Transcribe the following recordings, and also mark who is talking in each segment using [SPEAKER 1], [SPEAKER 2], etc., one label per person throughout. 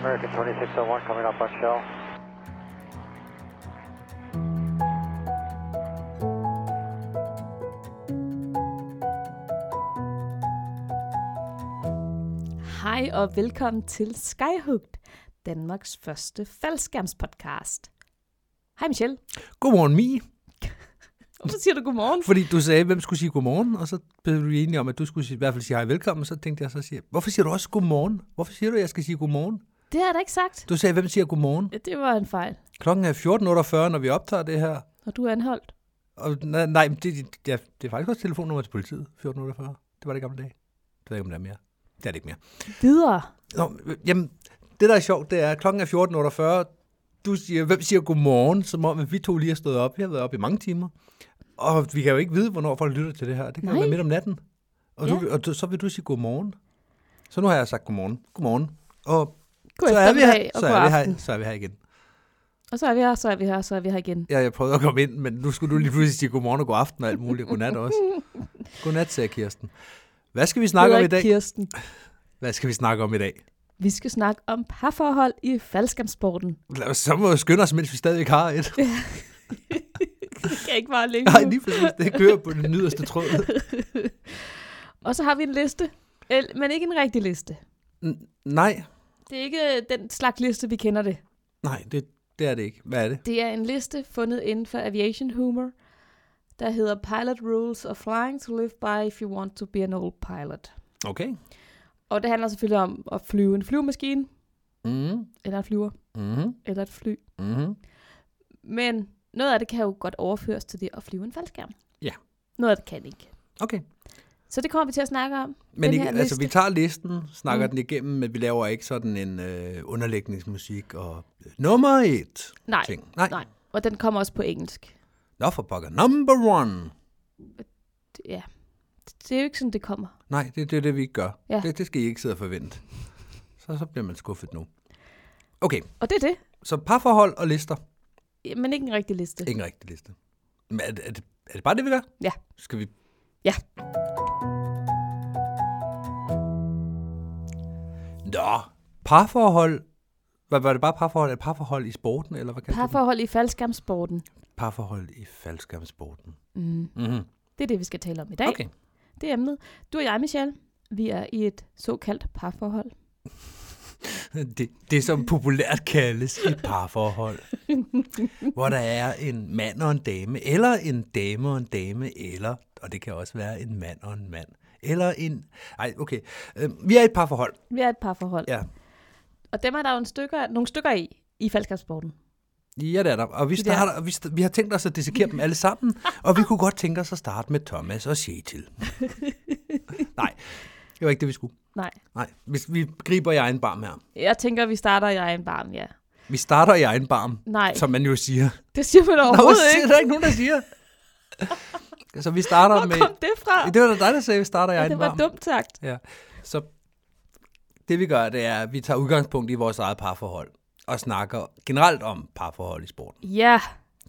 [SPEAKER 1] American 2601 coming up on shell.
[SPEAKER 2] Hej og velkommen til Skyhooked, Danmarks første faldskærmspodcast. Hej Michelle.
[SPEAKER 3] Godmorgen, Mie.
[SPEAKER 2] Hvorfor siger du godmorgen?
[SPEAKER 3] Fordi du sagde, hvem skulle sige godmorgen, og så blev vi enige om, at du skulle sige, i hvert fald sige hej velkommen, så tænkte jeg så sige, hvorfor siger du også godmorgen? Hvorfor siger du, at jeg skal sige godmorgen?
[SPEAKER 2] Det har jeg da ikke sagt.
[SPEAKER 3] Du sagde, hvem siger godmorgen?
[SPEAKER 2] Det var en fejl.
[SPEAKER 3] Klokken er 14.48, når vi optager det her.
[SPEAKER 2] Og du er anholdt.
[SPEAKER 3] Og, nej, nej men det, det, det, er, det er faktisk også telefonnummer til politiet, 14.48. Det var det i gamle dag. Det ved jeg ikke, om det er mere. Det er det ikke mere.
[SPEAKER 2] Videre.
[SPEAKER 3] Nå, øh, jamen, det der er sjovt, det er, at klokken er 14.48. Du siger, hvem siger godmorgen, som om at vi to lige er stået op. Jeg har været op i mange timer. Og vi kan jo ikke vide, hvornår folk lytter til det her. Det kan
[SPEAKER 2] Nej.
[SPEAKER 3] jo være midt om natten. Og,
[SPEAKER 2] Ja.
[SPEAKER 3] du, og du, så vil du sige godmorgen. Så nu har jeg sagt godmorgen. Godmorgen. Og
[SPEAKER 2] God
[SPEAKER 3] så er, vi her,
[SPEAKER 2] og
[SPEAKER 3] så,
[SPEAKER 2] god
[SPEAKER 3] er vi her,
[SPEAKER 2] aften.
[SPEAKER 3] så er vi her igen.
[SPEAKER 2] Og så er vi her, så er vi her, så er vi her igen.
[SPEAKER 3] Ja, jeg prøvede at komme ind, men nu skulle du lige pludselig sige godmorgen og god aften og alt muligt. Godnat også. Godnat, sagde Kirsten. Hvad skal vi
[SPEAKER 2] Hedder
[SPEAKER 3] snakke om i
[SPEAKER 2] ikke
[SPEAKER 3] dag?
[SPEAKER 2] Kirsten.
[SPEAKER 3] Hvad skal vi snakke om i dag?
[SPEAKER 2] Vi skal snakke om parforhold i faldskærmsporten.
[SPEAKER 3] Lad os, så må vi skynde os, mens vi stadigvæk har et.
[SPEAKER 2] Det kan ikke bare længe.
[SPEAKER 3] Nej, lige præcis. Det kører på den yderste tråd.
[SPEAKER 2] Og så har vi en liste, El- men ikke en rigtig liste.
[SPEAKER 3] N- nej,
[SPEAKER 2] Det er ikke øh, den slags liste, vi kender det.
[SPEAKER 3] nej, det, det er det ikke. Hvad er det?
[SPEAKER 2] Det er en liste fundet inden for aviation humor, der hedder Pilot Rules of Flying to Live By If You Want to Be an Old Pilot.
[SPEAKER 3] Okay.
[SPEAKER 2] Og det handler selvfølgelig om at flyve en flyvemaskine,
[SPEAKER 3] Mm,
[SPEAKER 2] eller en flyver,
[SPEAKER 3] mm,
[SPEAKER 2] eller et fly.
[SPEAKER 3] mm.
[SPEAKER 2] Men noget af det kan jo godt overføres til det at flyve en faldskærm.
[SPEAKER 3] Ja.
[SPEAKER 2] Noget af det kan ikke.
[SPEAKER 3] Okay.
[SPEAKER 2] Så det kommer vi til at snakke om.
[SPEAKER 3] Men
[SPEAKER 2] Den
[SPEAKER 3] ikke,
[SPEAKER 2] her
[SPEAKER 3] altså,
[SPEAKER 2] liste.
[SPEAKER 3] vi tager listen, snakker
[SPEAKER 2] Mm.
[SPEAKER 3] mm. den igennem, men vi laver ikke sådan en øh, underlægningsmusik og øh, nummer et
[SPEAKER 2] Nej,
[SPEAKER 3] ting. Nej.
[SPEAKER 2] nej. og den kommer også på engelsk.
[SPEAKER 3] Nå for pokker. Number one.
[SPEAKER 2] Det- Ja, det det er jo ikke sådan, det kommer.
[SPEAKER 3] Nej, det, det er det, vi ikke gør.
[SPEAKER 2] Ja.
[SPEAKER 3] Det, det skal I ikke sidde og forvente. Så, så bliver man skuffet nu. Okay,
[SPEAKER 2] Og det er det,
[SPEAKER 3] så parforhold og lister.
[SPEAKER 2] men ikke en rigtig liste.
[SPEAKER 3] Ikke en rigtig liste. Men er, det- er, det, er det bare det, vi gør?
[SPEAKER 2] Ja.
[SPEAKER 3] Skal vi...
[SPEAKER 2] Ja.
[SPEAKER 3] Nå, parforhold. Hvad var det bare parforhold? Er det parforhold i sporten, eller hvad kan
[SPEAKER 2] Parforhold i faldskærmsporten.
[SPEAKER 3] det? Parforhold i faldskærmsporten.
[SPEAKER 2] Mm.
[SPEAKER 3] Mm-hmm.
[SPEAKER 2] Det er det, vi skal tale om i dag.
[SPEAKER 3] Okay.
[SPEAKER 2] Det er emnet. Du og jeg, Michelle, vi er i et såkaldt parforhold.
[SPEAKER 3] Det, det, som populært kaldes et parforhold. hvor der er en mand og en dame, eller en dame og en dame, eller, og det kan også være en mand og en mand, eller en... Ej, okay. Øh, Vi er i et parforhold.
[SPEAKER 2] Vi er et parforhold.
[SPEAKER 3] Ja.
[SPEAKER 2] Og dem er der jo en stykker, nogle stykker i, i faldskabssporten.
[SPEAKER 3] Ja, det er der. Og vi,
[SPEAKER 2] Det er-
[SPEAKER 3] starter, og vi, st- vi har tænkt os at dissekere dem alle sammen, og vi kunne godt tænke os at starte med Thomas og Shetil. Nej, det var ikke det, vi skulle.
[SPEAKER 2] Nej.
[SPEAKER 3] Nej, vi, vi griber i egen barm her.
[SPEAKER 2] Jeg tænker, vi starter i egen barm, ja.
[SPEAKER 3] Vi starter i egen barm,
[SPEAKER 2] Nej,
[SPEAKER 3] som man jo siger.
[SPEAKER 2] det siger man
[SPEAKER 3] Nå, hvad
[SPEAKER 2] overhovedet
[SPEAKER 3] siger,
[SPEAKER 2] ikke.
[SPEAKER 3] der er ikke nogen, der siger. Så vi starter
[SPEAKER 2] Hvor
[SPEAKER 3] med...
[SPEAKER 2] kom det fra?
[SPEAKER 3] Det var da dig, der sagde, at vi starter i
[SPEAKER 2] Ja,
[SPEAKER 3] egen
[SPEAKER 2] det var
[SPEAKER 3] barm.
[SPEAKER 2] dumt sagt.
[SPEAKER 3] Ja. Så det vi gør, det er, at vi tager udgangspunkt i vores eget parforhold og snakker generelt om parforhold i sporten.
[SPEAKER 2] Ja,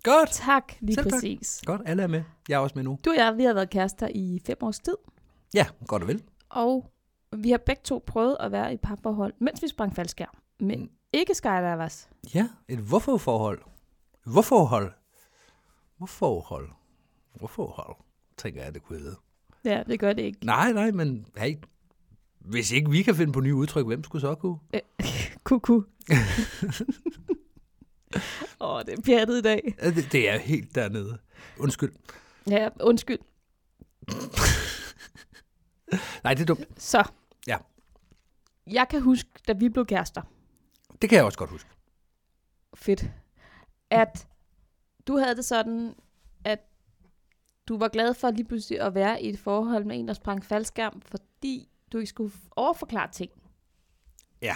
[SPEAKER 3] Godt.
[SPEAKER 2] tak lige
[SPEAKER 3] Selv tak.
[SPEAKER 2] præcis.
[SPEAKER 3] Godt, alle er med. Jeg er også med nu.
[SPEAKER 2] Du og jeg, vi har været kærester i fem års tid,
[SPEAKER 3] Ja, godt og vel.
[SPEAKER 2] og vi har begge to prøvet at være i parforhold, mens vi sprang faldskærm.
[SPEAKER 3] Mm.
[SPEAKER 2] Men ikke skydivers.
[SPEAKER 3] Ja, et hvorfor-forhold. Hvorforhold. Hvorforhold. Hvorforhold, tænker jeg, det kunne hedde.
[SPEAKER 2] Ja, det gør det ikke.
[SPEAKER 3] Nej, nej, men hey, hvis ikke vi kan finde på nye udtryk, hvem skulle så kunne?
[SPEAKER 2] Kuku. Åh, oh, det er pjattet i dag.
[SPEAKER 3] Ja, Det, det er helt dernede. Undskyld.
[SPEAKER 2] Ja, undskyld.
[SPEAKER 3] Nej, det er dumt.
[SPEAKER 2] Så.
[SPEAKER 3] Ja.
[SPEAKER 2] Jeg kan huske, da vi blev kærester,
[SPEAKER 3] Det kan jeg også godt huske.
[SPEAKER 2] fedt, at du havde det sådan, at du var glad for lige pludselig at være i et forhold med en, der sprang faldskærm, fordi du ikke skulle overforklare ting.
[SPEAKER 3] Ja,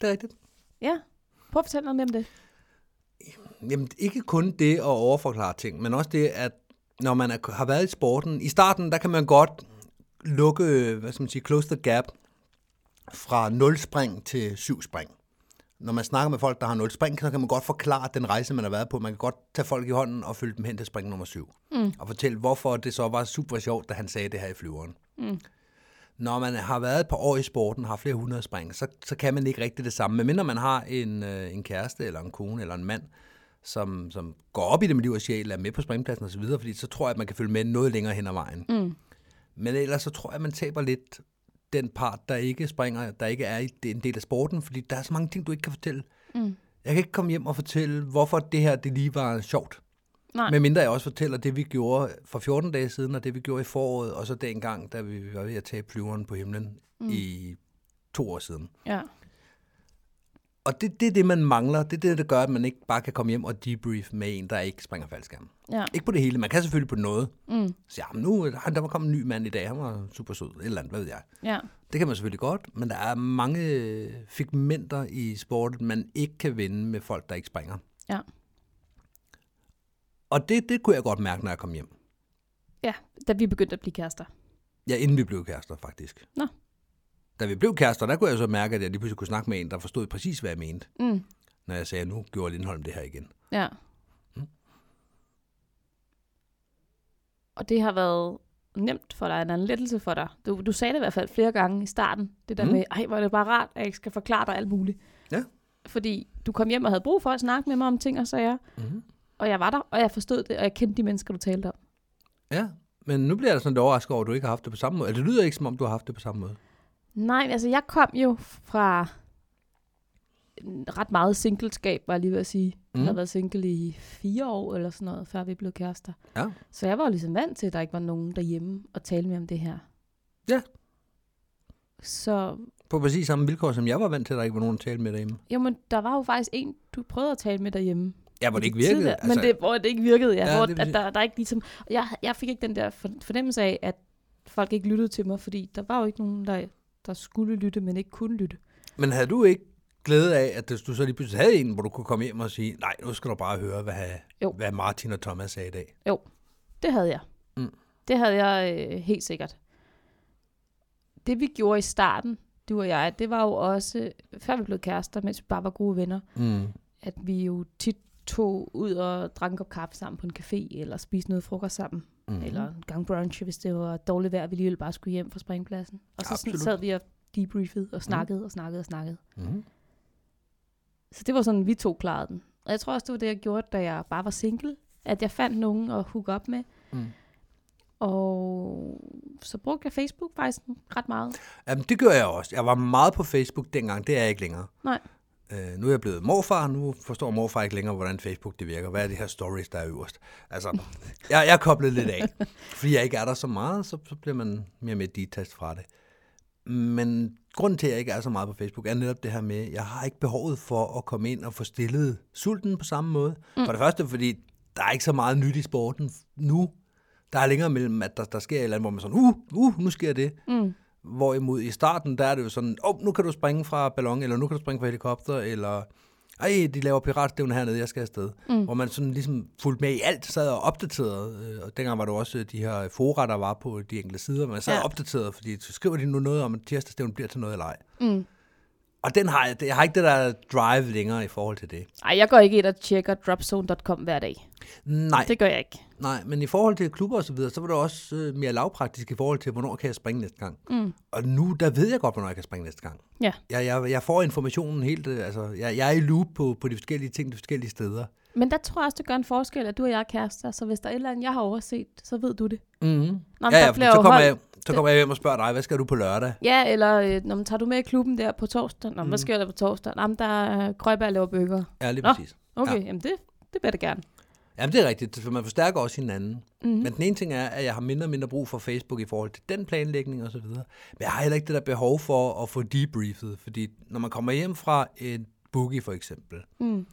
[SPEAKER 3] det er rigtigt.
[SPEAKER 2] Ja. Prøv at fortælle noget mere om det.
[SPEAKER 3] Jamen, ikke kun det at overforklare ting, men også det, at når man er, har været i sporten, i starten, der kan man godt lukke, øh, hvad skal man sige, close the gap fra 0 spring til 7 spring. Når man snakker med folk, der har 0 spring, så kan man godt forklare den rejse, man har været på. Man kan godt tage folk i hånden og følge dem hen til spring nummer 7. Mm. Og fortælle, hvorfor det så var super sjovt, da han sagde det her i flyveren. Mm. når man har været et par år i sporten og har flere hundrede spring, så, så kan man ikke rigtig det samme. Medmindre man har en, øh, en kæreste eller en kone eller en mand, som, som går op i det med liv og sjæl, er med på springpladsen osv., fordi så tror jeg, at man kan følge med noget længere hen ad vejen.
[SPEAKER 2] Mm.
[SPEAKER 3] Men ellers så tror jeg, at man taber lidt den part, der ikke springer, der ikke er i det- en del af sporten, fordi der er så mange ting, du ikke kan fortælle.
[SPEAKER 2] Mm.
[SPEAKER 3] Jeg kan ikke komme hjem og fortælle, hvorfor det her det lige var sjovt.
[SPEAKER 2] Nej.
[SPEAKER 3] Men mindre jeg også fortæller det, vi gjorde for 14 dage siden, og det, vi gjorde i foråret, og så dengang, da vi var ved at tage flyveren på himlen mm. i to år siden.
[SPEAKER 2] Ja.
[SPEAKER 3] Og det, det er det, man mangler. Det er det, der gør, at man ikke bare kan komme hjem og debrief med en, der ikke springer faldskærm.
[SPEAKER 2] Ja.
[SPEAKER 3] Ikke på det hele. Man kan selvfølgelig på noget.
[SPEAKER 2] Mm.
[SPEAKER 3] Så ja, men nu han, der var kommet en ny mand i dag. Han var super sød. Et eller andet, hvad ved jeg.
[SPEAKER 2] Ja.
[SPEAKER 3] Det kan man selvfølgelig godt, men der er mange øh, figmenter i sporten, man ikke kan vinde med folk, der ikke springer.
[SPEAKER 2] Ja.
[SPEAKER 3] Og det, det kunne jeg godt mærke, når jeg kom hjem.
[SPEAKER 2] Ja, da vi begyndte at blive kærester.
[SPEAKER 3] Ja, inden vi blev kærester, faktisk.
[SPEAKER 2] Nå.
[SPEAKER 3] Da vi blev kærester, der kunne jeg så mærke, at jeg lige pludselig kunne snakke med en, der forstod præcis, hvad jeg mente,
[SPEAKER 2] Mm.
[SPEAKER 3] når jeg sagde, nu gjorde Lindholm det her igen.
[SPEAKER 2] Ja. Og det har været nemt for dig, eller en lettelse for dig. Du, du sagde det i hvert fald flere gange i starten, det der
[SPEAKER 3] Mm.
[SPEAKER 2] mm. med, ej, hvor er det bare rart, at jeg ikke skal forklare dig alt muligt.
[SPEAKER 3] Ja.
[SPEAKER 2] Fordi du kom hjem og havde brug for at snakke med mig om ting og sager,
[SPEAKER 3] Mm-hmm.
[SPEAKER 2] og jeg var der, og jeg forstod det, og jeg kendte de mennesker, du talte om.
[SPEAKER 3] Ja, men nu bliver jeg da sådan lidt overrasket over, at du ikke har haft det på samme måde. Eller det lyder ikke, som om du har haft det på samme måde.
[SPEAKER 2] Nej, men altså jeg kom jo fra ret meget singleskab, var jeg lige ved at sige. Mm.
[SPEAKER 3] Mm.
[SPEAKER 2] Jeg havde været single i fire år eller sådan noget, før vi blev kærester.
[SPEAKER 3] Ja.
[SPEAKER 2] Så jeg var jo ligesom vant til, at der ikke var nogen derhjemme og tale med om det her.
[SPEAKER 3] Ja.
[SPEAKER 2] Så
[SPEAKER 3] På præcis samme vilkår, som jeg var vant til, at der ikke var nogen at tale med derhjemme.
[SPEAKER 2] jo, men der var jo faktisk en, du prøvede at tale med derhjemme.
[SPEAKER 3] Ja, hvor det ikke
[SPEAKER 2] Tidligere,
[SPEAKER 3] virkede. altså.
[SPEAKER 2] Men det, hvor det ikke virkede, ja.
[SPEAKER 3] Ja,
[SPEAKER 2] ja hvor, det
[SPEAKER 3] det vil
[SPEAKER 2] at
[SPEAKER 3] sige-
[SPEAKER 2] der, der er ikke ligesom, og jeg, jeg fik ikke den der for- fornemmelse af, at folk ikke lyttede til mig, fordi der var jo ikke nogen, der, der skulle lytte, men ikke kunne lytte.
[SPEAKER 3] Men havde du ikke glæde af, at du så lige pludselig havde en, hvor du kunne komme hjem og sige, nej, nu skal du bare høre, hvad,
[SPEAKER 2] Jo.
[SPEAKER 3] hvad Martin og Thomas sagde i dag.
[SPEAKER 2] Det havde jeg.
[SPEAKER 3] Mm.
[SPEAKER 2] Det havde jeg øh, helt sikkert. Det vi gjorde i starten, du og jeg, det var jo også, før vi blev kærester, mens vi bare var gode venner,
[SPEAKER 3] Mm.
[SPEAKER 2] at vi jo tit tog ud og drak en kop kaffe sammen på en café, eller spiste noget frokost sammen, mm. eller en gang brunch, hvis det var dårligt vejr, vi alligevel bare skulle hjem fra springpladsen. Og så sådan,
[SPEAKER 3] Absolut.
[SPEAKER 2] sad vi og debriefede og snakkede mm. og snakkede og snakkede.
[SPEAKER 3] Mm.
[SPEAKER 2] Så det var sådan, vi to klarede den. Og jeg tror også, det var det, jeg gjorde, da jeg bare var single. At jeg fandt nogen at hook op med.
[SPEAKER 3] Mm.
[SPEAKER 2] Og så brugte jeg Facebook faktisk ret meget.
[SPEAKER 3] Jamen, det gør jeg også. Jeg var meget på Facebook dengang, det er jeg ikke længere.
[SPEAKER 2] Nej.
[SPEAKER 3] Øh, nu er jeg blevet morfar, nu forstår morfar ikke længere, hvordan Facebook det virker. Hvad er det her stories, der er øverst? Altså, jeg, jeg er koblet lidt af. Fordi jeg ikke er der så meget, så, så bliver man mere med detached fra det. Men grunden til, at jeg ikke er så meget på Facebook, er netop det her med, at jeg har ikke behovet for at komme ind og få stillet sulten på samme måde. Mm. For det første, fordi der er ikke så meget nyt i sporten nu. Der er længere mellem, at der, der sker et eller andet, hvor man sådan, uh, uh, nu sker det.
[SPEAKER 2] Mm.
[SPEAKER 3] Hvorimod i starten, der er det jo sådan, åh, oh, nu kan du springe fra ballon, eller nu kan du springe fra helikopter, eller ej, de laver piratstævne hernede, jeg skal afsted. Mm. Hvor man sådan ligesom fulgte med i alt, sad og opdaterede. øh, Og dengang var der også øh, de her fora, der var på de enkelte sider, man sad
[SPEAKER 2] Ja.
[SPEAKER 3] ja. opdateret, fordi så skriver de nu noget om, at tirsdagsstævnen bliver til noget eller ej.
[SPEAKER 2] Mm.
[SPEAKER 3] Og den har jeg, jeg har ikke det der drive længere i forhold til det.
[SPEAKER 2] Ej, jeg går ikke ind og tjekker dropzone.com hver dag.
[SPEAKER 3] Nej, det...
[SPEAKER 2] Det gør jeg ikke.
[SPEAKER 3] nej, men i forhold til klubber og så videre, så var det også øh, mere lavpraktisk i forhold til, hvornår kan jeg springe næste gang.
[SPEAKER 2] Mm.
[SPEAKER 3] Og nu, der ved jeg godt, hvornår jeg kan springe næste gang.
[SPEAKER 2] Ja.
[SPEAKER 3] Jeg, jeg, jeg får informationen helt, øh, altså, jeg, jeg er i loop på, på de forskellige ting, de forskellige steder.
[SPEAKER 2] Men der tror jeg også, det gør en forskel, at du og jeg er kærester. Så hvis der er et eller andet, jeg har overset, så ved du det.
[SPEAKER 3] Mm-hmm.
[SPEAKER 2] Nå, men
[SPEAKER 3] ja,
[SPEAKER 2] der bliver
[SPEAKER 3] ja, fordi så
[SPEAKER 2] jo
[SPEAKER 3] kommer,
[SPEAKER 2] hold-
[SPEAKER 3] jeg, så kommer jeg hjem og spørger dig, hvad skal du på lørdag?
[SPEAKER 2] Ja, eller øh, når man tager du med i klubben der på torsdag? Nå, mm. hvad sker der på torsdag? Nå, men der er Grøjberg laver bøger.
[SPEAKER 3] Ja, lige
[SPEAKER 2] Nå.
[SPEAKER 3] præcis.
[SPEAKER 2] Okay, ja. jamen det, det bliver det gerne.
[SPEAKER 3] Jamen, det er rigtigt, for man forstærker også hinanden.
[SPEAKER 2] Mhm.
[SPEAKER 3] Mm-hmm. Men den ene ting er, at jeg har mindre og mindre brug for Facebook i forhold til den planlægning og så videre. Men jeg har heller ikke det der behov for at få debriefet, fordi når man kommer hjem fra en boogie for eksempel,
[SPEAKER 2] Mm.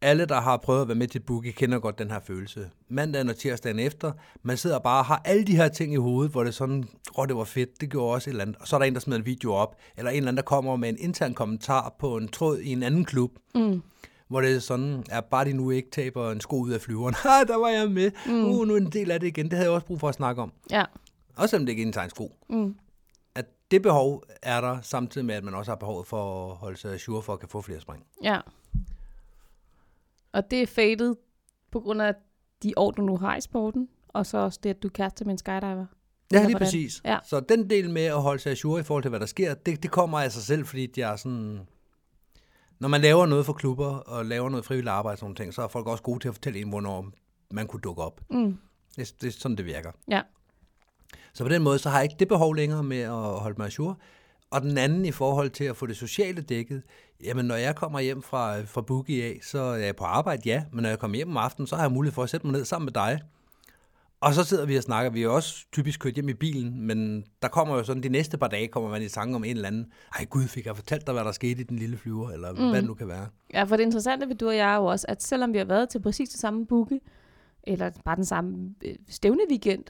[SPEAKER 3] alle, der har prøvet at være med til boogie, kender godt den her følelse. Mandagen og tirsdagen efter, man sidder bare og har alle de her ting i hovedet, hvor det er sådan, åh, oh, det var fedt, det gjorde også et eller andet. Og så er der en, der smider en video op, eller en eller anden, der kommer med en intern kommentar på en tråd i en anden klub,
[SPEAKER 2] Mm.
[SPEAKER 3] hvor det er sådan, at bare de nu ikke taber en sko ud af flyveren. Ha, der var jeg med. Mm. Uh, nu er en del af det igen. Det havde jeg også brug for at snakke om.
[SPEAKER 2] Ja.
[SPEAKER 3] Også selvom det ikke er en tegn sko.
[SPEAKER 2] Mm.
[SPEAKER 3] At det behov er der, samtidig med, at man også har behov for at holde sig sure for at kan få flere spring.
[SPEAKER 2] Ja. Og det er fadet på grund af de år, du nu har i sporten, og så også det, at du er kæreste med en skydiver.
[SPEAKER 3] Ja,
[SPEAKER 2] Eller
[SPEAKER 3] lige
[SPEAKER 2] hvordan?
[SPEAKER 3] præcis.
[SPEAKER 2] Ja.
[SPEAKER 3] Så den del med at holde sig ajour i forhold til, hvad der sker, det, det kommer af sig selv, fordi de er sådan... Når man laver noget for klubber og laver noget frivilligt arbejde og sådan nogle ting, så er folk også gode til at fortælle en, hvornår man kunne dukke op.
[SPEAKER 2] Mm.
[SPEAKER 3] Det, det er sådan, det virker.
[SPEAKER 2] Ja.
[SPEAKER 3] Så på den måde, så har jeg ikke det behov længere med at holde mig ajour. Og den anden i forhold til at få det sociale dækket, jamen når jeg kommer hjem fra, fra Boogie af, så er jeg på arbejde, ja, men når jeg kommer hjem om aftenen, så har jeg mulighed for at sætte mig ned sammen med dig. Og så sidder vi og snakker, vi er jo også typisk kørt hjem i bilen, men der kommer jo sådan, de næste par dage kommer man i tanke om en eller anden, ej gud, fik jeg fortalt dig, hvad der skete i den lille flyver, eller mm. hvad det nu kan være.
[SPEAKER 2] Ja, for det interessante ved du og jeg er jo også, at selvom vi har været til præcis det samme bukke, eller bare den samme øh, stævne weekend,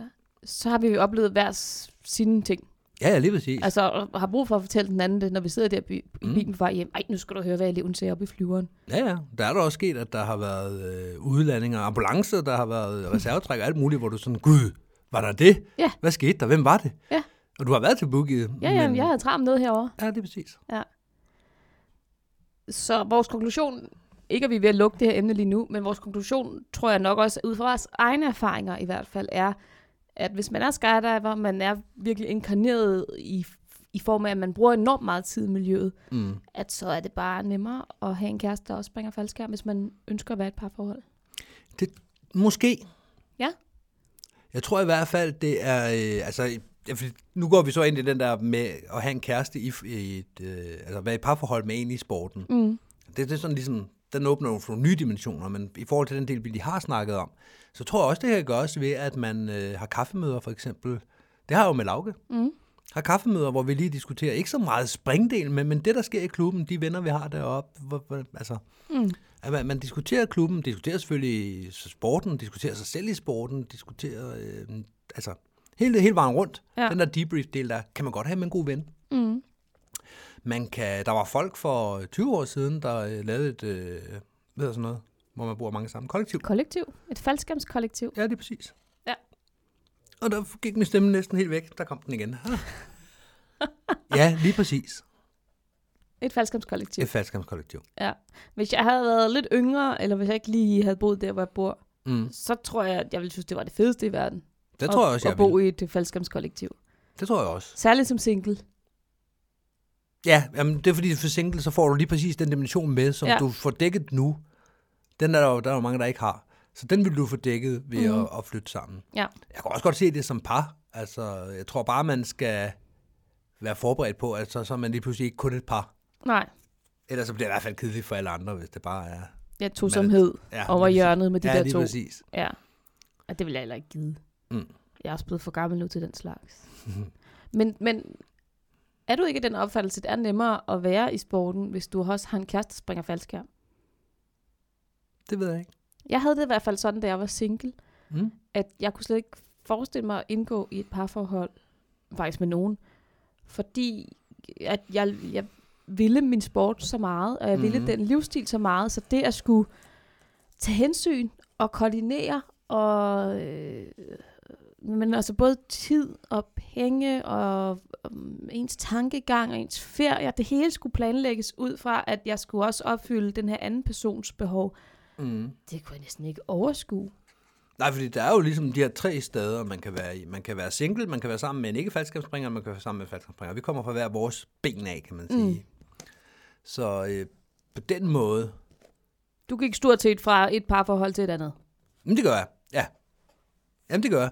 [SPEAKER 2] så har vi jo oplevet hver s- sine ting.
[SPEAKER 3] Ja, ja, lige præcis. Altså,
[SPEAKER 2] Altså, og har brug for at fortælle den anden det, når vi sidder der by- i bilen på vej hjem. Ej, nu skal du høre, hvad eleven sagde oppe i flyveren.
[SPEAKER 3] ja, ja. Der er der også sket, at der har været øh, udlandinger, ambulancer, der har været reservetræk og alt muligt, hvor du sådan, gud, var der det?
[SPEAKER 2] Ja.
[SPEAKER 3] Hvad skete der? Hvem var det?
[SPEAKER 2] Ja.
[SPEAKER 3] Og du har været til Boogie.
[SPEAKER 2] Ja, ja, men... jeg havde travlt med herovre.
[SPEAKER 3] Ja, det er præcis.
[SPEAKER 2] Så vores konklusion, ikke at vi er ved at lukke det her emne lige nu, men vores konklusion, tror jeg nok også, ud fra vores egne erfaringer i hvert fald, er, at hvis man er skydiver, man er virkelig inkarneret i, i form af, at man bruger enormt meget tid i miljøet,
[SPEAKER 3] Mm.
[SPEAKER 2] at så er det bare nemmere at have en kæreste, der også springer faldskærm, hvis man ønsker at være i et parforhold.
[SPEAKER 3] Det, måske.
[SPEAKER 2] Ja.
[SPEAKER 3] Jeg tror i hvert fald, det er... Øh, altså, ja, fordi nu går vi så ind i den der med at have en kæreste i, f- i et, øh, altså være i parforhold med en i sporten.
[SPEAKER 2] Mm.
[SPEAKER 3] Det, det er sådan ligesom, den åbner jo for nogle nye dimensioner, men i forhold til den del, vi lige har snakket om, så tror jeg også, det kan gøres ved, at man øh, har kaffemøder for eksempel. Det har jeg jo med Lauke.
[SPEAKER 2] Mm.
[SPEAKER 3] Har kaffemøder, hvor vi lige diskuterer ikke så meget springdel, men, men det, der sker i klubben, de venner, vi har deroppe, hvor, hvor, altså,
[SPEAKER 2] Mm.
[SPEAKER 3] at man, man diskuterer klubben, diskuterer selvfølgelig sporten, diskuterer sig selv i sporten, diskuterer, øh, altså, hele, hele vejen rundt.
[SPEAKER 2] Ja.
[SPEAKER 3] Ja. Den der debrief-del, der kan man godt have med en god ven.
[SPEAKER 2] Mm.
[SPEAKER 3] Man kan, der var folk for 20 år siden, der øh, lavede et, øh, hvad hedder sådan noget, hvor man bor mange sammen, kollektiv.
[SPEAKER 2] Kollektiv. Et faldskærmskollektiv.
[SPEAKER 3] Ja, det er præcis.
[SPEAKER 2] Ja.
[SPEAKER 3] Og der gik min stemme næsten helt væk, der kom den igen. Ah. ja, lige præcis.
[SPEAKER 2] Et faldskærmskollektiv.
[SPEAKER 3] Et faldskabskollektiv.
[SPEAKER 2] Ja. Hvis jeg havde været lidt yngre, eller hvis jeg ikke lige havde boet der, hvor jeg bor,
[SPEAKER 3] Mm.
[SPEAKER 2] så tror jeg, at jeg ville synes, det var det fedeste i verden.
[SPEAKER 3] Det tror
[SPEAKER 2] at,
[SPEAKER 3] jeg også, jeg
[SPEAKER 2] At bo
[SPEAKER 3] vil.
[SPEAKER 2] i et faldskærmskollektiv.
[SPEAKER 3] Det tror jeg også.
[SPEAKER 2] Særligt som single.
[SPEAKER 3] Ja, jamen, det er fordi, for single, så får du lige præcis den dimension med, som
[SPEAKER 2] Ja.
[SPEAKER 3] ja. du får dækket nu. Den er der jo, der er jo mange, der ikke har. Så den vil du få dækket ved mm. at, at flytte sammen.
[SPEAKER 2] Mhm. Ja.
[SPEAKER 3] Jeg kan også godt se det som par. Altså, jeg tror bare, man skal være forberedt på, at så, så er man lige pludselig ikke kun et par.
[SPEAKER 2] Nej.
[SPEAKER 3] Ellers så bliver det i hvert fald kedeligt for alle andre, hvis det bare er...
[SPEAKER 2] Ja, tosomhed
[SPEAKER 3] Ja,
[SPEAKER 2] over
[SPEAKER 3] lige præcis.
[SPEAKER 2] hjørnet med de
[SPEAKER 3] ja,
[SPEAKER 2] der
[SPEAKER 3] lige
[SPEAKER 2] to.
[SPEAKER 3] præcis.
[SPEAKER 2] Ja, og det vil jeg heller ikke give.
[SPEAKER 3] Mm.
[SPEAKER 2] Jeg er også blevet for gammel nu til den slags. men, men er du ikke af den opfattelse, at det er nemmere at være i sporten, hvis du også har en kæreste, der springer faldskærm?
[SPEAKER 3] Det ved jeg ikke.
[SPEAKER 2] Jeg havde det i hvert fald sådan, da jeg var single,
[SPEAKER 3] Mm.
[SPEAKER 2] at jeg kunne slet ikke forestille mig at indgå i et parforhold, faktisk med nogen, fordi at jeg, jeg ville min sport så meget, og jeg ville
[SPEAKER 3] Mhm.
[SPEAKER 2] den livsstil så meget, så det at skulle tage hensyn og koordinere, og, øh, men altså både tid og penge og um, ens tankegang og ens ferie, det hele skulle planlægges ud fra, at jeg skulle også opfylde den her anden persons behov.
[SPEAKER 3] Mm.
[SPEAKER 2] Det kunne jeg næsten ikke overskue.
[SPEAKER 3] Nej, fordi der er jo ligesom de her tre steder, man kan være i. Man kan være single, man kan være sammen med en ikke-faldskabsspringer, og man kan være sammen med en faldskabsspringer. Vi kommer fra hver vores ben af, kan man sige. Mm. Så øh, på den måde...
[SPEAKER 2] Du gik stort set fra et parforhold til et andet.
[SPEAKER 3] Men det gør jeg, ja. Jamen, det gør jeg.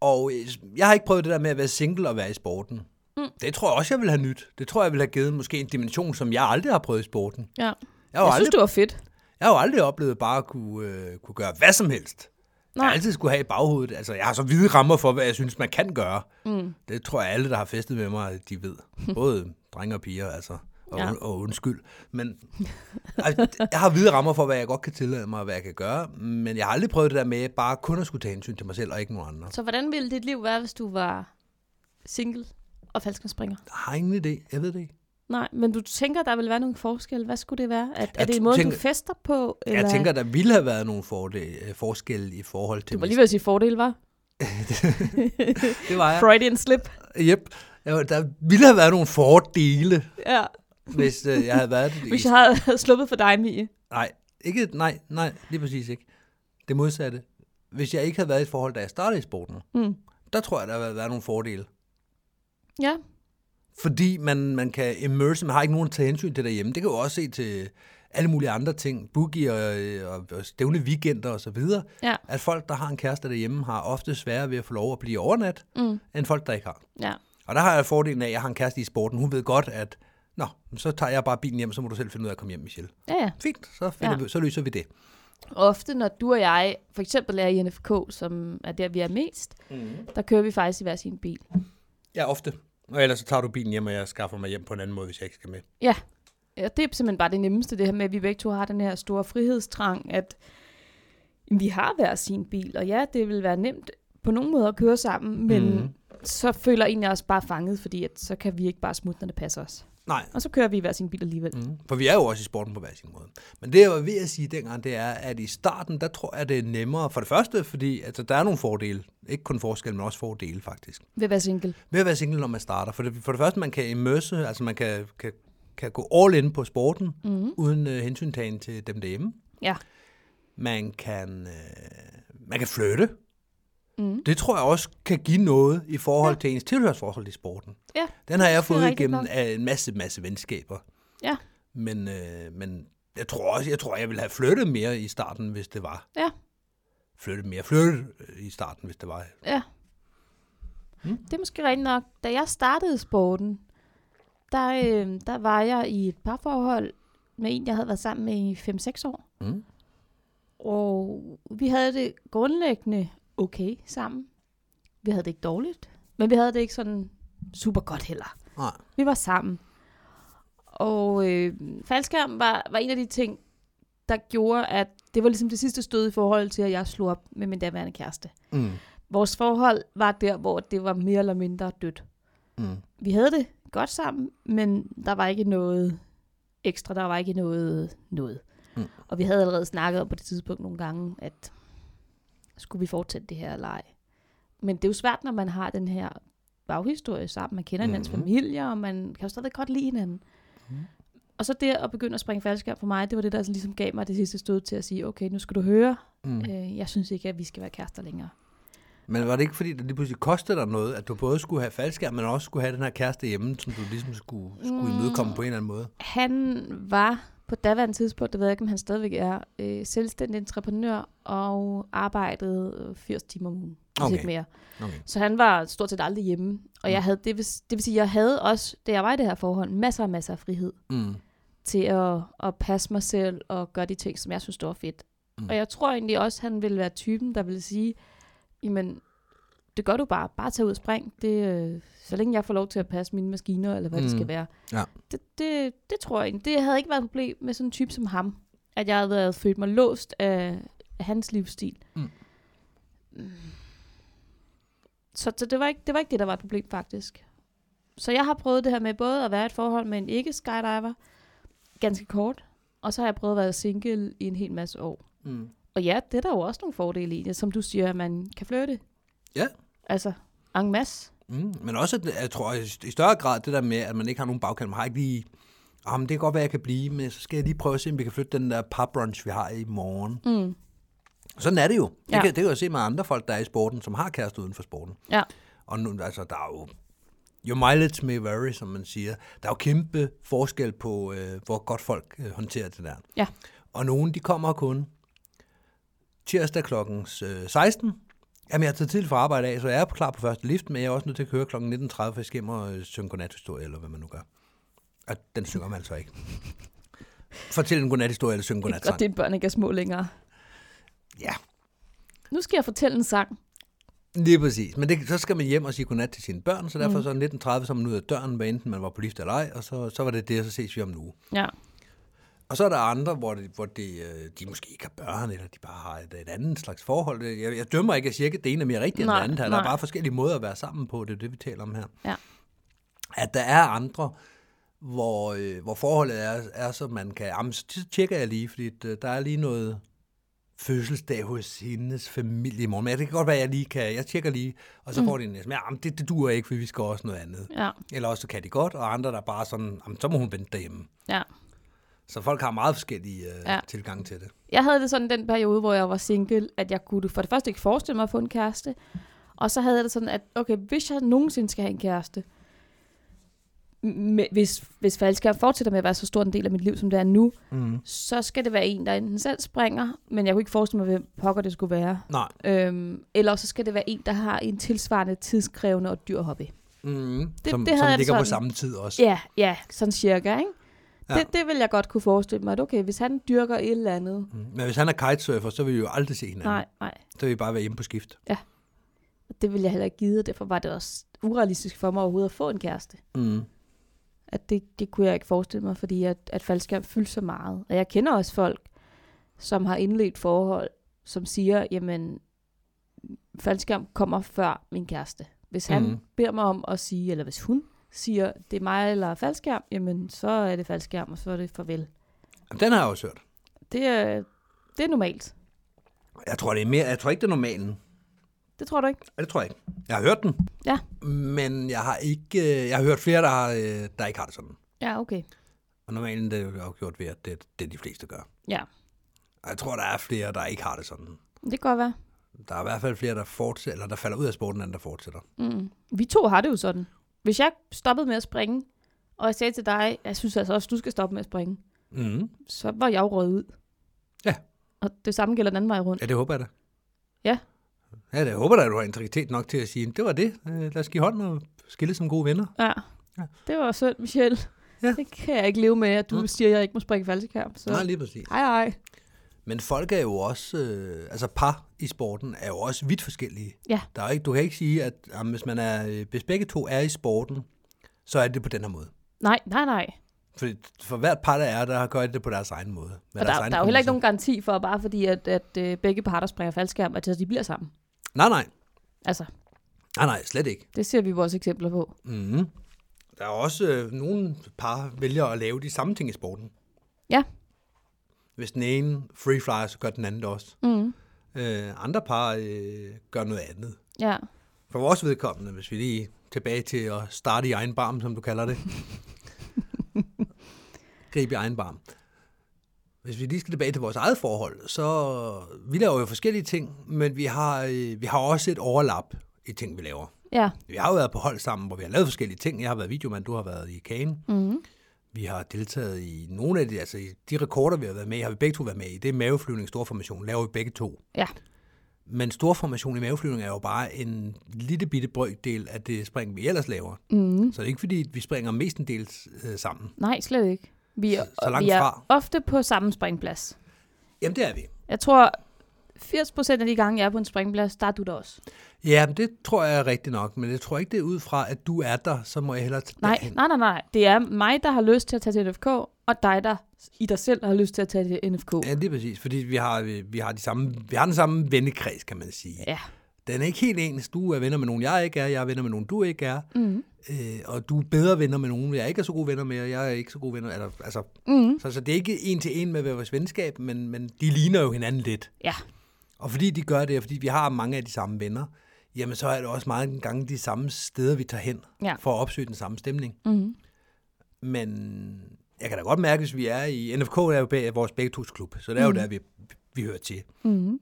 [SPEAKER 3] Og øh, jeg har ikke prøvet det der med at være single og være i sporten. Mm. Det tror jeg også, jeg vil have nyt. Det tror jeg, vil have givet måske en dimension, som jeg aldrig har prøvet i sporten.
[SPEAKER 2] Ja.
[SPEAKER 3] Jeg har,
[SPEAKER 2] Jeg
[SPEAKER 3] jo aldrig,
[SPEAKER 2] synes, det var fedt.
[SPEAKER 3] jeg har jo aldrig oplevet bare at kunne, øh, kunne gøre hvad som helst. Nej. Jeg
[SPEAKER 2] Nej.
[SPEAKER 3] har altid skulle have i baghovedet. Altså, jeg har så hvide rammer for, hvad jeg synes, man kan gøre.
[SPEAKER 2] Mm.
[SPEAKER 3] Det tror jeg alle, der har festet med mig, de ved. Både drenge og piger, altså. Og,
[SPEAKER 2] Ja.
[SPEAKER 3] ja. og undskyld. Men altså, jeg har hvide rammer for, hvad jeg godt kan tillade mig, og hvad jeg kan gøre. Men jeg har aldrig prøvet det der med bare kun at skulle tage hensyn til mig selv og ikke nogen andre.
[SPEAKER 2] Så hvordan ville dit liv være, hvis du var single og falskenspringer?
[SPEAKER 3] Jeg har ingen idé. Jeg ved det ikke.
[SPEAKER 2] Nej, men du tænker, der vil være nogle forskel. Hvad skulle det være? At, er
[SPEAKER 3] Jeg
[SPEAKER 2] det en måde,
[SPEAKER 3] tænker-
[SPEAKER 2] du fester på? Eller?
[SPEAKER 3] Eller... Jeg tænker, der ville have været nogle fordele, øh, forskelle i forhold til...
[SPEAKER 2] du var
[SPEAKER 3] min-
[SPEAKER 2] lige ved at sige fordel, var?
[SPEAKER 3] Det var jeg.
[SPEAKER 2] Freudian slip.
[SPEAKER 3] Yep. Jeg var- Der ville have været nogle fordele,
[SPEAKER 2] Ja.
[SPEAKER 3] hvis øh, jeg havde været det. i-
[SPEAKER 2] Hvis jeg havde sluppet for dig, Mie.
[SPEAKER 3] Nej, ikke, nej, nej, lige præcis ikke. Det modsatte. Hvis jeg ikke havde været i et forhold, da jeg startede i sporten,
[SPEAKER 2] Mm.
[SPEAKER 3] Der tror jeg, der har været nogle fordele.
[SPEAKER 2] Ja,
[SPEAKER 3] Fordi man, man kan immerse, man har ikke nogen at tage hensyn til derhjemme. Det kan jo også se til alle mulige andre ting, boogie og, øh, og, og stævne weekender og så videre.
[SPEAKER 2] ja,
[SPEAKER 3] At folk, der har en kæreste derhjemme, har ofte sværere ved at få lov at blive overnat,
[SPEAKER 2] mm,
[SPEAKER 3] end folk, der ikke har.
[SPEAKER 2] ja.
[SPEAKER 3] Og der har jeg fordelen af, at jeg har en kæreste i sporten. Hun ved godt, at Nå, så tager jeg bare bilen hjem, så må du selv finde ud af at komme hjem, Michelle.
[SPEAKER 2] Ja, ja.
[SPEAKER 3] Fint, så, finder
[SPEAKER 2] Ja.
[SPEAKER 3] ja. vi, så løser vi det.
[SPEAKER 2] Ofte, når du og jeg for eksempel er i NFK, som er der, vi er mest,
[SPEAKER 3] Mhm.
[SPEAKER 2] mm. der kører vi faktisk i hver sin bil.
[SPEAKER 3] Ja, ofte. Og ellers så tager du bilen hjem, og jeg skaffer mig hjem på en anden måde, hvis jeg ikke skal med.
[SPEAKER 2] Ja, og det er simpelthen bare det nemmeste, det her med, at vi begge to har den her store frihedstrang, at jamen, vi har hver sin bil, og ja, det vil være nemt på nogen måde at køre sammen, men mm.
[SPEAKER 3] Mhm.
[SPEAKER 2] så føler en af os bare fanget, fordi at så kan vi ikke bare smutte, når det passer os.
[SPEAKER 3] Nej,
[SPEAKER 2] Og så kører vi i hver sin bil alligevel. Mm.
[SPEAKER 3] Mm. For vi er jo også i sporten på hver sin måde. Men det, jeg var ved at sige dengang, det er, at i starten, der tror jeg, det er nemmere. For det første, fordi altså, der er nogle fordele. Ikke kun forskel, men også fordele, faktisk.
[SPEAKER 2] Ved at være single.
[SPEAKER 3] Ved at være single, når man starter. For det, for det første, man kan immerse, altså man kan, kan, kan gå all in på sporten, mm. uden øh, hensyntagen til dem derhjemme.
[SPEAKER 2] Ja.
[SPEAKER 3] Man kan, øh, man kan flytte. Mm. Det tror jeg også kan give noget i forhold ja. til ens tilhørsforhold i sporten.
[SPEAKER 2] Ja.
[SPEAKER 3] Den har jeg
[SPEAKER 2] Det er
[SPEAKER 3] fået
[SPEAKER 2] rigtigt
[SPEAKER 3] igennem
[SPEAKER 2] nok.
[SPEAKER 3] af en masse, masse venskaber.
[SPEAKER 2] Ja.
[SPEAKER 3] Men, øh, men jeg tror også, jeg tror, jeg ville have flyttet mere i starten, hvis det var.
[SPEAKER 2] Ja.
[SPEAKER 3] Flyttet mere. Flyttet øh, i starten, hvis det var.
[SPEAKER 2] Ja. Mm. Det er måske rigtigt nok. Da jeg startede sporten, der, øh, der var jeg i et parforhold med en, jeg havde været sammen med i 5-6 år.
[SPEAKER 3] Mm.
[SPEAKER 2] Og vi havde det grundlæggende okay sammen. Vi havde det ikke dårligt, men vi havde det ikke sådan super godt heller.
[SPEAKER 3] Nej.
[SPEAKER 2] Vi var sammen. Og øh, faldskærm var, var en af de ting, der gjorde, at det var ligesom det sidste stød i forhold til, at jeg slog op med min daværende kæreste.
[SPEAKER 3] Mm.
[SPEAKER 2] Vores forhold var der, hvor det var mere eller mindre dødt.
[SPEAKER 3] Mm.
[SPEAKER 2] Vi havde det godt sammen, men der var ikke noget ekstra, der var ikke noget noget. Mm.
[SPEAKER 3] Mm.
[SPEAKER 2] Og vi havde allerede snakket om på det tidspunkt nogle gange, at skulle vi fortsætte det her eller ej. Men det er jo svært, når man har den her baghistorie sammen. Man kender hinandens
[SPEAKER 3] Mhm.
[SPEAKER 2] familie, og man kan jo stadig godt lide hinanden. Og så det at begynde at springe faldskærm for mig, det var det, der sådan ligesom gav mig det sidste stød til at sige, okay, nu skal du høre,
[SPEAKER 3] Mm.
[SPEAKER 2] øh, jeg synes ikke, at vi skal være kærester længere.
[SPEAKER 3] Men var det ikke fordi, det lige pludselig kostede dig noget, at du både skulle have faldskærm, men også skulle have den her kæreste hjemme, som du ligesom skulle, skulle
[SPEAKER 2] Mm.
[SPEAKER 3] imødekomme på en eller anden måde?
[SPEAKER 2] Han var på daværende tidspunkt, det ved jeg ikke, om han stadigvæk er, øh, selvstændig entreprenør og arbejdede øh, 80 timer om ugen, hvis
[SPEAKER 3] Okay.
[SPEAKER 2] ikke mere.
[SPEAKER 3] Okay.
[SPEAKER 2] Så han var stort set aldrig hjemme. Og jeg havde, det, vil, det vil sige, jeg havde også, da jeg var i det her forhold, masser og masser af frihed
[SPEAKER 3] Mm.
[SPEAKER 2] til at, at passe mig selv og gøre de ting, som jeg synes, det var fedt. Mm.
[SPEAKER 3] Mm.
[SPEAKER 2] Og jeg tror egentlig også, han ville være typen, der ville sige, jamen, det gør du bare. Bare tag ud og spring. Det, øh, så længe jeg får lov til at passe mine maskiner, eller hvad mm. det
[SPEAKER 3] Mm.
[SPEAKER 2] skal være.
[SPEAKER 3] Ja.
[SPEAKER 2] Det, det, det tror jeg egentlig. Det havde ikke været et problem med sådan en type som ham. At jeg havde været, følt mig låst af, af hans livsstil.
[SPEAKER 3] Mm.
[SPEAKER 2] Mm. Så, så det, var ikke, det var ikke det, der var et problem faktisk. Så jeg har prøvet det her med både at være i et forhold med en ikke-skydiver, ganske kort, og så har jeg prøvet at være single i en hel masse år.
[SPEAKER 3] Mm.
[SPEAKER 2] Og ja, det er der jo også nogle fordele i det, som du siger, at man kan flytte.
[SPEAKER 3] Ja.
[SPEAKER 2] Altså, en masse.
[SPEAKER 3] Mm. Men også, at jeg tror i- i større grad, det der med, at man ikke har nogen bagkant. Man har ikke lige, ah, men det kan godt være, jeg kan blive, men så skal jeg lige prøve at se, om vi kan flytte den der pub brunch, vi har i morgen.
[SPEAKER 2] Mm.
[SPEAKER 3] Sådan er det jo. Det,
[SPEAKER 2] Ja.
[SPEAKER 3] ja. kan, det kan jeg se med andre folk, der er i sporten, som har kæreste uden for sporten.
[SPEAKER 2] Ja.
[SPEAKER 3] Og nu, altså, der er jo... Your mileage may vary, som man siger. Der er jo kæmpe forskel på, øh, hvor godt folk øh, håndterer det der.
[SPEAKER 2] Ja.
[SPEAKER 3] Og nogen, de kommer kun tirsdag kl. øh, 16. Jamen, jeg er taget tidligt fra arbejde af, så jeg er klar på første lift, men jeg er også nødt til at køre kl. 19.30, for jeg skal hjem og øh, synge godnathistorie, eller hvad man nu gør. Og den synger man altså ikke. Fortæl en godnathistorie, eller synge
[SPEAKER 2] Det er godt,
[SPEAKER 3] godnatsang.
[SPEAKER 2] dine børn ikke er små længere.
[SPEAKER 3] Ja,
[SPEAKER 2] Nu skal jeg fortælle en sang.
[SPEAKER 3] Lige præcis. Men det, så skal man hjem og sige godnat til sine børn, så derfor mm. så 19.30, så er man ud af døren, hvad enten man var på lift eller ej, og så, så var det det, og så ses vi om en uge.
[SPEAKER 2] Ja.
[SPEAKER 3] Og så er der andre, hvor, det, hvor det, øh, de måske ikke har børn, eller de bare har et, et andet slags forhold. Jeg, jeg dømmer ikke, at sige, at det ene er mere rigtigt end
[SPEAKER 2] Nej,
[SPEAKER 3] det andet her. Der
[SPEAKER 2] nej.
[SPEAKER 3] er bare forskellige måder at være sammen på, det er det, vi taler om her.
[SPEAKER 2] Ja.
[SPEAKER 3] At der er andre, hvor, øh, hvor forholdet er, er, så man kan... Jamen, så tjekker jeg lige, fordi øh, der er lige noget fødselsdag hos hendes familie i morgen. Men det kan godt være, at jeg lige kan... Jeg tjekker lige, og så mm. får de en sms. Jamen, det, det duer ikke, for vi skal også noget andet.
[SPEAKER 2] Ja.
[SPEAKER 3] Eller også så kan de godt, og andre, der bare sådan... Jamen, så må hun vente derhjemme.
[SPEAKER 2] Ja.
[SPEAKER 3] Så folk har meget forskellige øh,
[SPEAKER 2] Ja.
[SPEAKER 3] ja. tilgange til det.
[SPEAKER 2] Jeg havde det sådan den periode, hvor jeg var single, at jeg kunne for det første ikke forestille mig at få en kæreste, Og så havde jeg det sådan, at okay, hvis jeg nogensinde skal have en kæreste, med, hvis, hvis faldskærm fortsætter med at være så stor en del af mit liv, som det er nu,
[SPEAKER 3] Mm.
[SPEAKER 2] så skal det være en, der enten selv springer, men jeg kunne ikke forestille mig, hvem pokker det skulle være.
[SPEAKER 3] Nej.
[SPEAKER 2] Øhm, eller også så skal det være en, der har en tilsvarende tidskrævende og dyr hobby.
[SPEAKER 3] Mm.
[SPEAKER 2] det
[SPEAKER 3] som,
[SPEAKER 2] havde jeg
[SPEAKER 3] som
[SPEAKER 2] det
[SPEAKER 3] ligger på
[SPEAKER 2] sådan.
[SPEAKER 3] samme tid også.
[SPEAKER 2] Ja, ja, sådan cirka, ikke?
[SPEAKER 3] Ja.
[SPEAKER 2] Ja. Det, det vil jeg godt kunne forestille mig, at okay, hvis han dyrker et eller andet.
[SPEAKER 3] Mm. Men hvis han er kitesurfer, så vil vi jo aldrig se hinanden.
[SPEAKER 2] Nej, nej,
[SPEAKER 3] Så vil vi bare være hjemme på skift.
[SPEAKER 2] det vil jeg heller ikke give, og derfor var det også urealistisk for mig overhovedet at få en kæreste.
[SPEAKER 3] Mm.
[SPEAKER 2] At det, det kunne jeg ikke forestille mig, fordi at, at faldskærm fyldte så meget. Og jeg kender også folk, som har indledt forhold, som siger, jamen, faldskærm kommer før min kæreste. Hvis han
[SPEAKER 3] Mhm.
[SPEAKER 2] mm. beder mig om at sige, eller hvis hun siger, det er mig eller faldskærm, jamen, så er det faldskærm, og så er det farvel.
[SPEAKER 3] Jamen, Den har jeg også hørt.
[SPEAKER 2] Det, er- det er normalt.
[SPEAKER 3] Jeg tror, det er mere, jeg tror ikke, det er normalen.
[SPEAKER 2] Det tror du ikke?
[SPEAKER 3] Ja, Det tror jeg ikke. Jeg har hørt den.
[SPEAKER 2] Ja.
[SPEAKER 3] Men jeg har ikke, øh, jeg har hørt flere, der, har, øh, der ikke har det sådan.
[SPEAKER 2] Ja, okay.
[SPEAKER 3] Og normalen det er jo gjort ved, at det, det er de fleste der gør.
[SPEAKER 2] Ja,
[SPEAKER 3] Og jeg tror, der er flere, der ikke har det sådan.
[SPEAKER 2] det kan godt være.
[SPEAKER 3] Der er i hvert fald flere, der, fortsætter, eller der falder ud af sporten, end der fortsætter.
[SPEAKER 2] Mm. Vi to har det jo sådan. Hvis jeg stoppede med at springe, og jeg sagde til dig, jeg synes altså også, du skal stoppe med at springe,
[SPEAKER 3] Mm.
[SPEAKER 2] så var jeg jo røget ud.
[SPEAKER 3] Ja.
[SPEAKER 2] Og det samme gælder den anden vej rundt.
[SPEAKER 3] Ja, det håber jeg da.
[SPEAKER 2] Ja.
[SPEAKER 3] Ja, det jeg håber jeg, at du har integritet nok til at sige, det var det. Øh, Lad os give hånd og skille som gode venner.
[SPEAKER 2] Ja.
[SPEAKER 3] Ja.
[SPEAKER 2] Det var synd, Michelle.
[SPEAKER 3] Ja.
[SPEAKER 2] Det kan jeg ikke leve med, at du
[SPEAKER 3] Mm.
[SPEAKER 2] mm. siger, at jeg ikke må springe falsekamp. Så.
[SPEAKER 3] Så. Nej, lige præcis.
[SPEAKER 2] Ej, ej.
[SPEAKER 3] Men folk er jo også, øh, altså par i sporten er jo også vidt forskellige.
[SPEAKER 2] Ja.
[SPEAKER 3] Der er jo ikke, du kan ikke sige, at jamen, hvis, man er, øh, hvis begge to er i sporten, så er det på den her måde.
[SPEAKER 2] Nej, nej, nej.
[SPEAKER 3] For, for hvert par, der er, der gør de det på deres egen måde. Med
[SPEAKER 2] Og
[SPEAKER 3] deres
[SPEAKER 2] der,
[SPEAKER 3] egen
[SPEAKER 2] der er jo heller ikke
[SPEAKER 3] præmisser.
[SPEAKER 2] nogen garanti for, bare fordi at, at øh, begge parter springer falskærm, at de bliver sammen.
[SPEAKER 3] Nej, nej.
[SPEAKER 2] Altså,
[SPEAKER 3] Nej, nej, slet ikke.
[SPEAKER 2] det ser vi vores eksempler på.
[SPEAKER 3] Mm. Der er også øh, nogle par, vælger at lave de samme ting i sporten.
[SPEAKER 2] Ja.
[SPEAKER 3] Hvis den ene free flyer, så gør den anden det også.
[SPEAKER 2] Mm.
[SPEAKER 3] Øh, andre par øh, gør noget andet.
[SPEAKER 2] Ja.
[SPEAKER 3] For vores vedkommende, hvis vi lige er tilbage til at starte i egen barm, som du kalder det. Gribe i egen barm. Hvis vi lige skal tilbage til vores eget forhold, så vi laver jo forskellige ting, men vi har, øh, vi har også et overlap i ting, vi laver.
[SPEAKER 2] Ja.
[SPEAKER 3] Vi har jo været på hold sammen, hvor vi har lavet forskellige ting. Jeg har været videomand, du har været i kagen.
[SPEAKER 2] Mm.
[SPEAKER 3] Vi har deltaget i nogle af de, altså i de rekorder, vi har været med i, har vi begge to været med i. Det er maveflyvning, storformation, laver vi begge to.
[SPEAKER 2] Ja.
[SPEAKER 3] Men storformation i maveflyvning er jo bare en lille bitte brøkdel af det spring, vi ellers laver.
[SPEAKER 2] Mm.
[SPEAKER 3] Så det er ikke fordi, vi springer mestendels øh, sammen.
[SPEAKER 2] Nej, slet ikke. Vi er,
[SPEAKER 3] Så- så langt
[SPEAKER 2] vi er
[SPEAKER 3] fra.
[SPEAKER 2] ofte på samme springplads.
[SPEAKER 3] Jamen, det er vi.
[SPEAKER 2] Jeg tror, 80% af de gange, jeg er på en springplads, der er du der også.
[SPEAKER 3] Ja, men det tror jeg er rigtigt nok, men jeg tror ikke, det er ud fra, at du er der, så må jeg hellere tage
[SPEAKER 2] Nej,
[SPEAKER 3] derhen.
[SPEAKER 2] nej, nej, nej. Det er mig, der har lyst til at tage til NFK, og dig, der i dig selv har lyst til at tage til NFK.
[SPEAKER 3] Ja, det er præcis, fordi vi har, vi har, de samme, vi har den samme vennekreds, kan man sige.
[SPEAKER 2] Ja.
[SPEAKER 3] Den er ikke helt ens. Du er venner med nogen, jeg ikke er. Jeg er venner med nogen, du ikke er.
[SPEAKER 2] Mm.
[SPEAKER 3] Øh, og du er bedre venner med nogen, jeg ikke er så gode venner med, og jeg er ikke så gode venner. Eller, altså,
[SPEAKER 2] Mm.
[SPEAKER 3] så, så det er ikke en til en med vores venskab, men, men de ligner jo hinanden lidt.
[SPEAKER 2] Ja.
[SPEAKER 3] Og fordi de gør det, og fordi vi har mange af de samme venner, jamen så er det også mange gange de samme steder, vi tager hen
[SPEAKER 2] Ja.
[SPEAKER 3] for at opsøge den samme stemning.
[SPEAKER 2] Mm.
[SPEAKER 3] Men jeg kan da godt mærke, hvis vi er i... NFK er jo bag, vores begge tos klub, så det er jo mm. der, vi, vi hører til.
[SPEAKER 2] Mm.
[SPEAKER 3] Men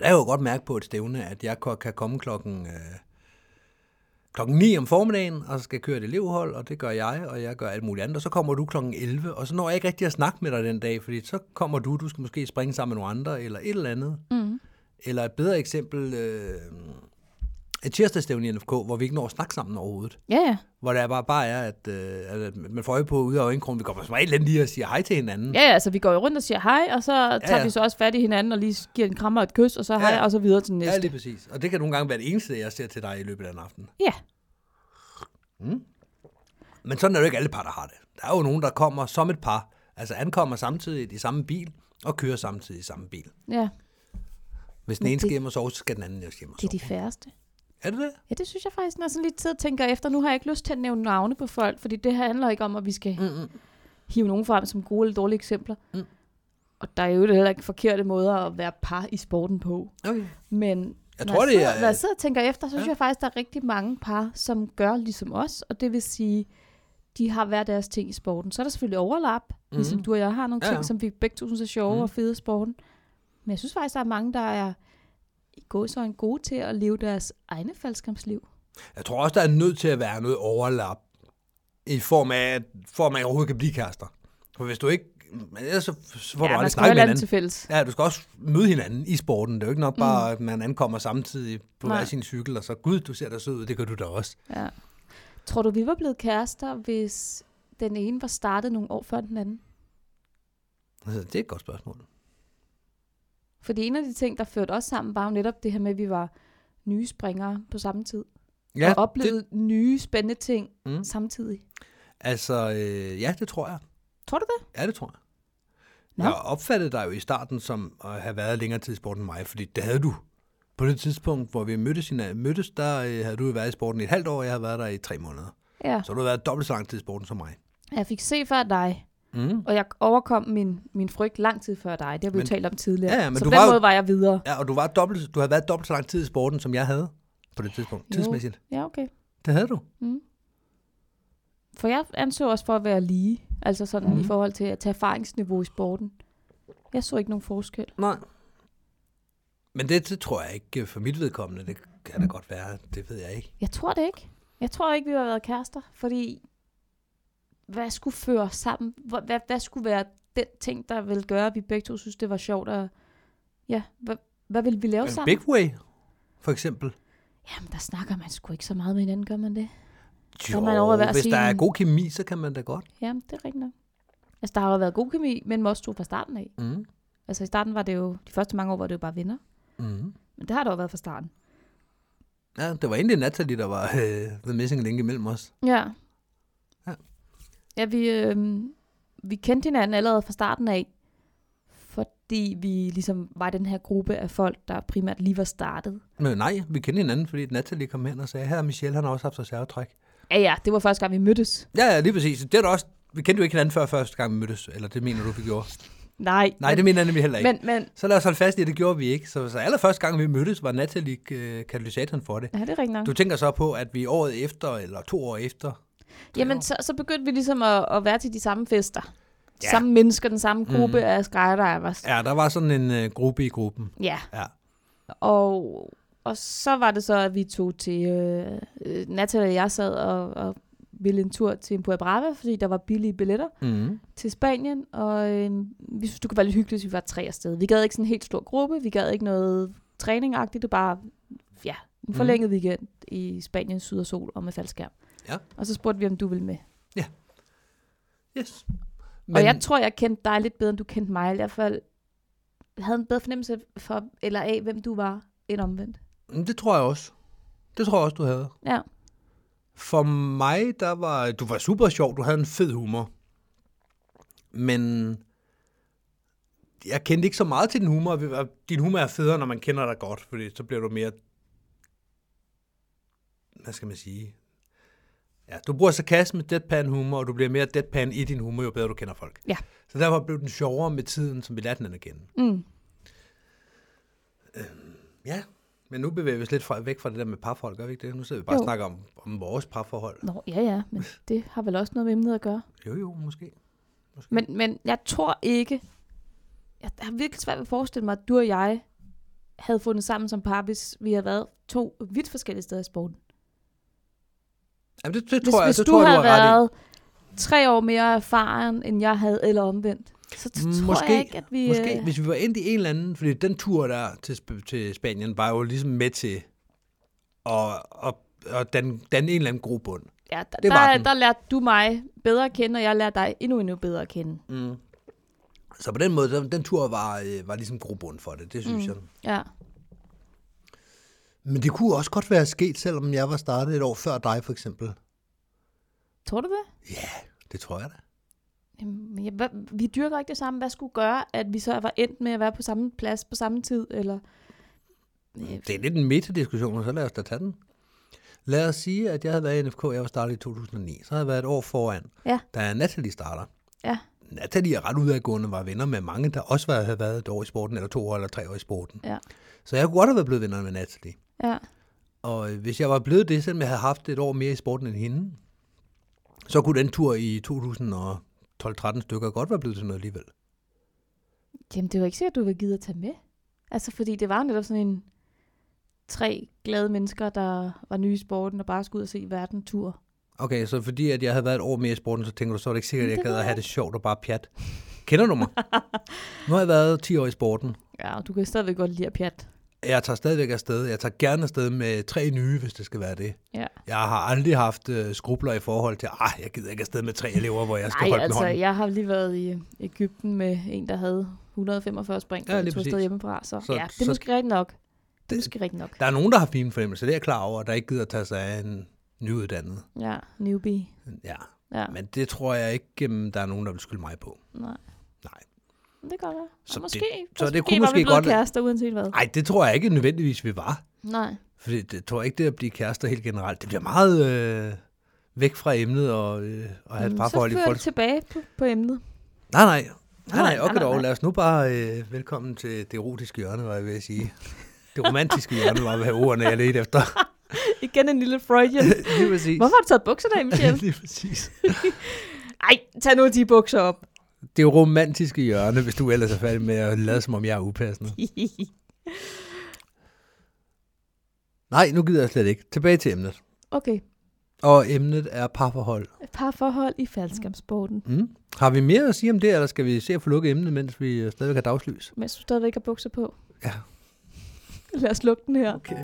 [SPEAKER 3] Jeg kan jo godt mærke på et stævne, at jeg ko- kan komme klokken, øh, klokken 9 om formiddagen, og så skal jeg køre et elevhold, og det gør jeg, og jeg gør alt muligt andet. Og så kommer du klokken 11, og så når jeg ikke rigtig at snakke med dig den dag, fordi så kommer du, du skal måske springe sammen med nogle andre, eller et eller andet.
[SPEAKER 2] Mm.
[SPEAKER 3] Eller et bedre eksempel, øh, et tirsdagsstævne i NFK, hvor vi ikke når at snakke sammen overhovedet.
[SPEAKER 2] Ja, ja.
[SPEAKER 3] Hvor der bare, bare er, at, øh, at man får øje på ude af øjenkrogen, vi kommer som regel lige og siger hej til hinanden.
[SPEAKER 2] Ja, ja, altså vi går jo rundt og siger hej, og så tager
[SPEAKER 3] ja.
[SPEAKER 2] vi så også fat i hinanden og lige giver en krammer og et kys, og så hej,
[SPEAKER 3] Ja.
[SPEAKER 2] og så videre til
[SPEAKER 3] Ja,
[SPEAKER 2] næste.
[SPEAKER 3] lige præcis. Og det kan nogle gange være det eneste, jeg ser til dig i løbet af en aften.
[SPEAKER 2] Ja.
[SPEAKER 3] Mm. Men sådan er det jo ikke alle par, der har det. Der er jo nogen, der kommer som et par, altså ankommer samtidig i samme bil, og kører samtidig i samme bil.
[SPEAKER 2] Ja,
[SPEAKER 3] Hvis den
[SPEAKER 2] Men
[SPEAKER 3] ene skal
[SPEAKER 2] det-
[SPEAKER 3] hjem og sove, så skal den anden også hjem og
[SPEAKER 2] det er
[SPEAKER 3] sove.
[SPEAKER 2] de færreste.
[SPEAKER 3] Er det det?
[SPEAKER 2] Ja, det synes jeg faktisk, når jeg sådan lige tid tænker efter. Nu har jeg ikke lyst til at nævne navne på folk, fordi det her handler ikke om, at vi skal
[SPEAKER 3] Mm-mm.
[SPEAKER 2] hive nogen frem som gode eller dårlige eksempler.
[SPEAKER 3] Mm.
[SPEAKER 2] Og der er jo heller ikke forkerte måder at være par i sporten på.
[SPEAKER 3] Okay.
[SPEAKER 2] Men
[SPEAKER 3] Jeg
[SPEAKER 2] når
[SPEAKER 3] tror,
[SPEAKER 2] jeg
[SPEAKER 3] det
[SPEAKER 2] sidder,
[SPEAKER 3] er-
[SPEAKER 2] Når jeg sidder og tænker efter, så synes
[SPEAKER 3] Ja.
[SPEAKER 2] ja. jeg faktisk, der er rigtig mange par, som gør ligesom os. Og det vil sige, de har hver deres ting i sporten. Så er der selvfølgelig overlap, mm. ligesom du og jeg har nogle
[SPEAKER 3] Mhm. Ja,
[SPEAKER 2] ting,
[SPEAKER 3] ja.
[SPEAKER 2] som vi begge to synes er sjove
[SPEAKER 3] Mhm.
[SPEAKER 2] mm. og fede i sporten. Men jeg synes faktisk, der er mange, der er i gåsøjne gode til at leve deres egne faldskampsliv.
[SPEAKER 3] Jeg tror også, der er nødt til at være noget overlap i form af, at for at man overhovedet kan blive kærester. For hvis du ikke... Men ellers så så får ja, du aldrig
[SPEAKER 2] man skal jo have
[SPEAKER 3] snakket med
[SPEAKER 2] landet
[SPEAKER 3] hinanden.
[SPEAKER 2] til fælles.
[SPEAKER 3] Ja, du skal også møde hinanden i sporten. Det er jo ikke nok bare, at man ankommer samtidig på
[SPEAKER 2] Nej.
[SPEAKER 3] hver sin cykel, og så, gud, du ser da sød ud, det gør du da også.
[SPEAKER 2] Ja. Tror du, vi var blevet kærester, hvis den ene var startet nogle år før den anden?
[SPEAKER 3] Altså, det er et godt spørgsmål.
[SPEAKER 2] Fordi en af de ting, der førte os sammen, var jo netop det her med, at vi var nye springere på samme tid. Ja, og
[SPEAKER 3] det,
[SPEAKER 2] oplevede det... nye spændende ting
[SPEAKER 3] Mm.
[SPEAKER 2] mm. samtidig.
[SPEAKER 3] altså, øh, ja, det tror jeg.
[SPEAKER 2] Tror du det?
[SPEAKER 3] Ja, det tror jeg.
[SPEAKER 2] Nå.
[SPEAKER 3] Jeg opfattede dig jo i starten som at have været længere tid i sporten end mig, fordi det havde du. På det tidspunkt, hvor vi mødtes, hinanden- mødtes der øh, havde du jo været i sporten i et halvt år, og jeg havde været der i tre måneder.
[SPEAKER 2] Ja.
[SPEAKER 3] Så har du har været dobbelt så lang tid i sporten som mig.
[SPEAKER 2] Jeg fik se før dig,
[SPEAKER 3] Mm.
[SPEAKER 2] og jeg overkom min, min frygt lang tid før dig. Det har vi
[SPEAKER 3] Men-
[SPEAKER 2] jo talt om tidligere.
[SPEAKER 3] Ja, ja, men
[SPEAKER 2] så på
[SPEAKER 3] du
[SPEAKER 2] den
[SPEAKER 3] var jo-
[SPEAKER 2] måde var jeg videre.
[SPEAKER 3] Ja, og du, var dobbelt, du havde været dobbelt så lang tid i sporten, som jeg havde på det tidspunkt.
[SPEAKER 2] Jo.
[SPEAKER 3] Tidsmæssigt.
[SPEAKER 2] Ja, okay.
[SPEAKER 3] Det havde du.
[SPEAKER 2] Mm. For jeg anså også for at være lige, altså sådan
[SPEAKER 3] Mhm.
[SPEAKER 2] mm. i forhold til at tage erfaringsniveau i sporten. Jeg så ikke nogen forskel.
[SPEAKER 3] Nej. Men det, det tror jeg ikke øh, for mit vedkommende. Det kan da godt være. Det ved jeg ikke.
[SPEAKER 2] Jeg tror det ikke. Jeg tror ikke, vi har været kærester, fordi hvad skulle føre os sammen? Hvad, hvad, hvad skulle være den ting, der ville gøre, at vi begge to synes, det var sjovt? Og, ja, hvad, hvad ville vi lave sammen?
[SPEAKER 3] Men Big Way, for eksempel.
[SPEAKER 2] Jamen, der snakker man sgu ikke så meget med hinanden, gør man det?
[SPEAKER 3] Jo,
[SPEAKER 2] er man over ved at
[SPEAKER 3] hvis
[SPEAKER 2] sige
[SPEAKER 3] der er
[SPEAKER 2] en-
[SPEAKER 3] god kemi, så kan man da godt.
[SPEAKER 2] Jamen, det er rigtigt nok. Altså, der har jo været god kemi mellem os to fra starten af.
[SPEAKER 3] Mm.
[SPEAKER 2] Altså, i starten var det jo, de første mange år var det jo bare venner.
[SPEAKER 3] Mm.
[SPEAKER 2] Men det har der jo været fra starten.
[SPEAKER 3] Ja, det var egentlig Natalie, der var øh, the missing link imellem os.
[SPEAKER 2] Ja.
[SPEAKER 3] Ja.
[SPEAKER 2] Ja, vi, øh, vi kendte hinanden allerede fra starten af, fordi vi ligesom var den her gruppe af folk, der primært lige var startet.
[SPEAKER 3] Men nej, vi kendte hinanden, fordi Natalie kom hen og sagde, her er Michelle, han har også haft reservetræk.
[SPEAKER 2] Ja, ja, det var første gang, vi mødtes.
[SPEAKER 3] Ja, ja, lige præcis. Det er da også, vi kendte jo ikke hinanden før første gang, vi mødtes. Eller det mener du, vi gjorde.
[SPEAKER 2] Nej.
[SPEAKER 3] Nej, det mener jeg nemlig heller ikke. Men...
[SPEAKER 2] men, men,
[SPEAKER 3] Så lad os holde fast i, at det gjorde vi ikke. Så, så allerførste gang, vi mødtes, var Natalie øh, katalysatoren for det.
[SPEAKER 2] ja, det er rigtigt nok.
[SPEAKER 3] Du tænker så på, at vi året efter, eller to år efter,
[SPEAKER 2] Jamen, så, så begyndte vi ligesom at, at være til de samme fester. De
[SPEAKER 3] Ja.
[SPEAKER 2] samme mennesker, den samme gruppe mm. af skydivers.
[SPEAKER 3] ja, der var sådan en øh, gruppe i gruppen.
[SPEAKER 2] Ja.
[SPEAKER 3] Ja.
[SPEAKER 2] Og, og så var det så, at vi tog til... Øh, øh, Natalie og jeg sad og, og ville en tur til Puerto Brava, fordi der var billige billetter
[SPEAKER 3] Mm.
[SPEAKER 2] til Spanien. Og øh, vi synes, det kunne være lidt hyggeligt, hvis vi var tre afsted. Vi gad ikke sådan en helt stor gruppe. Vi gad ikke noget træning-agtigt. Det var bare ja, en
[SPEAKER 3] Mm.
[SPEAKER 2] forlænget mm. weekend i Spanien, syd og sol og med faldskærm.
[SPEAKER 3] Ja.
[SPEAKER 2] Og så spurgte vi, om du ville med.
[SPEAKER 3] Yes.
[SPEAKER 2] Men... Og jeg tror, jeg kendte dig lidt bedre, end du kendte mig. I hvert fald havde en bedre fornemmelse for, eller af, hvem du var, end omvendt.
[SPEAKER 3] Men Det tror jeg også. Det tror jeg også, du havde.
[SPEAKER 2] Ja.
[SPEAKER 3] For mig, der var... Du var super sjov. Du havde en fed humor. Men... Jeg kendte ikke så meget til din humor. og vi var- Din humor er federe, når man kender dig godt, fordi så bliver du mere... Hvad skal man sige? Ja, du bruger sarkasme, deadpan humor, og du bliver mere deadpan i din humor, jo bedre du kender folk.
[SPEAKER 2] Ja.
[SPEAKER 3] Så derfor blev den sjovere med tiden, som vi lærte den at kende.
[SPEAKER 2] Mm.
[SPEAKER 3] Ja, men nu bevæger vi os lidt fra, væk fra det der med parforhold, gør vi ikke det? Nu sidder vi bare
[SPEAKER 2] Jo.
[SPEAKER 3] og snakker om, om vores parforhold.
[SPEAKER 2] Nå, ja, ja, men det har vel også noget med emnet at gøre.
[SPEAKER 3] Jo, jo, måske. måske.
[SPEAKER 2] Men, men jeg tror ikke, jeg har virkelig svært ved at forestille mig, at du og jeg havde fundet sammen som par, hvis vi havde været to vidt forskellige steder i sporten.
[SPEAKER 3] Jamen, det, det
[SPEAKER 2] Hvis,
[SPEAKER 3] tror jeg,
[SPEAKER 2] hvis
[SPEAKER 3] det
[SPEAKER 2] du
[SPEAKER 3] tror jeg,
[SPEAKER 2] havde
[SPEAKER 3] du har ret i.
[SPEAKER 2] været tre år mere erfaren, end jeg havde, eller omvendt, så t- tror
[SPEAKER 3] Mm, Måske,
[SPEAKER 2] jeg ikke, at vi...
[SPEAKER 3] Måske,
[SPEAKER 2] øh,
[SPEAKER 3] hvis vi var endt i en eller anden, fordi den tur der til, Sp- til Spanien var jo ligesom med til at, at, at danne, danne en eller anden grobund.
[SPEAKER 2] ja, der,
[SPEAKER 3] det var
[SPEAKER 2] der,
[SPEAKER 3] den.
[SPEAKER 2] der lærte du mig bedre at kende, og jeg lærte dig endnu, endnu bedre at kende.
[SPEAKER 3] Mm. Så på den måde, den, den tur var, øh, var ligesom grobund for det, det synes mm. jeg.
[SPEAKER 2] Ja.
[SPEAKER 3] Men det kunne også godt være sket, selvom jeg var startet et år før dig, for eksempel.
[SPEAKER 2] Tror du det?
[SPEAKER 3] Ja, det tror jeg da.
[SPEAKER 2] Jamen, jeg, hvad, vi dyrker ikke det samme. Hvad skulle gøre, at vi så var endt med at være på samme plads på samme tid? Eller... Øh,
[SPEAKER 3] Det er lidt en metadiskussion, og så lad os da tage den. Lad os sige, at jeg havde været i NFK, jeg var startet i 2009. Så havde jeg været et år foran,
[SPEAKER 2] Ja.
[SPEAKER 3] da Natalie starter.
[SPEAKER 2] Ja.
[SPEAKER 3] Natalie er ret udadgående, var venner med mange, der også var- havde været et år i sporten, eller to år eller tre år i sporten.
[SPEAKER 2] Ja.
[SPEAKER 3] Så jeg kunne godt have været blevet venner med Natalie.
[SPEAKER 2] Ja.
[SPEAKER 3] Og øh, hvis jeg var blevet det, selvom jeg havde haft et år mere i sporten end hende, så kunne den tur i 2012-13 stykker godt være blevet til noget alligevel.
[SPEAKER 2] Jamen, det var ikke sikkert, at du ville gide at tage med. Altså, fordi det var jo netop sådan en... tre glade mennesker, der var nye i sporten og bare skulle ud og se verden tur.
[SPEAKER 3] Okay, så fordi at jeg havde været et år mere i sporten, så tænker du, så er det ikke sikkert, at jeg
[SPEAKER 2] Det
[SPEAKER 3] gad
[SPEAKER 2] ved
[SPEAKER 3] at
[SPEAKER 2] jeg
[SPEAKER 3] have det sjovt og bare pjat. Kender du mig? nu har jeg været 10 år i sporten.
[SPEAKER 2] Ja, og du kan stadigvæk godt lide at pjat.
[SPEAKER 3] Jeg tager stadigvæk afsted. Jeg tager gerne afsted med tre nye, hvis det skal være det.
[SPEAKER 2] Ja.
[SPEAKER 3] Jeg har aldrig haft øh, skrubler i forhold til, ah, jeg gider ikke afsted med tre elever, hvor jeg skal
[SPEAKER 2] Nej,
[SPEAKER 3] holde
[SPEAKER 2] altså,
[SPEAKER 3] den hånden.
[SPEAKER 2] jeg har lige været i Ægypten med en, der havde 145 spring,
[SPEAKER 3] Ja,
[SPEAKER 2] ja,
[SPEAKER 3] lige
[SPEAKER 2] tog afsted
[SPEAKER 3] præcis.
[SPEAKER 2] hjemmefra. Så,
[SPEAKER 3] Så-
[SPEAKER 2] så ja, det er
[SPEAKER 3] så-
[SPEAKER 2] måske rigtigt nok. Det er
[SPEAKER 3] Det-
[SPEAKER 2] måske rigtigt nok.
[SPEAKER 3] Der er nogen, der har fine fornemmelser, det er jeg klar over, der ikke gider at tage sig af en nyuddannet.
[SPEAKER 2] Ja, newbie.
[SPEAKER 3] Ja,
[SPEAKER 2] Ja,
[SPEAKER 3] men det tror jeg ikke, øhm, der er nogen, der vil skylde mig på.
[SPEAKER 2] nej.
[SPEAKER 3] Nej.
[SPEAKER 2] Men Det kan godt være.
[SPEAKER 3] Så
[SPEAKER 2] Så
[SPEAKER 3] det-
[SPEAKER 2] måske,
[SPEAKER 3] så
[SPEAKER 2] så
[SPEAKER 3] det
[SPEAKER 2] det
[SPEAKER 3] kunne
[SPEAKER 2] måske, var
[SPEAKER 3] måske
[SPEAKER 2] vi blevet
[SPEAKER 3] godt-
[SPEAKER 2] kærester, uanset hvad.
[SPEAKER 3] Nej, det tror jeg ikke nødvendigvis, vi var.
[SPEAKER 2] Nej.
[SPEAKER 3] For det, det tror jeg ikke, det at blive kærester helt generelt. Det bliver meget øh, væk fra emnet og, øh, og have et
[SPEAKER 2] Jamen,
[SPEAKER 3] parforhold i
[SPEAKER 2] så
[SPEAKER 3] folk.
[SPEAKER 2] folk... tilbage på, på emnet.
[SPEAKER 3] Nej, nej. Nej,
[SPEAKER 2] Nej,
[SPEAKER 3] nej, okay
[SPEAKER 2] nej,
[SPEAKER 3] dog.
[SPEAKER 2] nej.
[SPEAKER 3] Lad os nu bare øh, velkommen til det erotiske hjørne, var jeg ved at sige. Det romantiske hjørne var, hvad ordene jeg ledte efter.
[SPEAKER 2] Igen en lille Freudian.
[SPEAKER 3] Lige præcis.
[SPEAKER 2] Hvorfor har du taget bukserne af, Michelle?
[SPEAKER 3] Lige præcis.
[SPEAKER 2] Ej, tag nu de bukser op.
[SPEAKER 3] Det romantiske hjørne, hvis du ellers er færdig med at lade, som om jeg er upassende. Nej, nu gider jeg slet ikke. Tilbage til emnet.
[SPEAKER 2] okay,
[SPEAKER 3] Og emnet er parforhold.
[SPEAKER 2] et par forhold i faldskabssporten.
[SPEAKER 3] Mm. Har vi mere at sige om det, eller skal vi se at få lukket emnet, mens vi øh, stadigvæk har dagslys?
[SPEAKER 2] Mens du stadigvæk har bukser på.
[SPEAKER 3] Ja.
[SPEAKER 2] Lad os lukke den her.
[SPEAKER 3] Okay.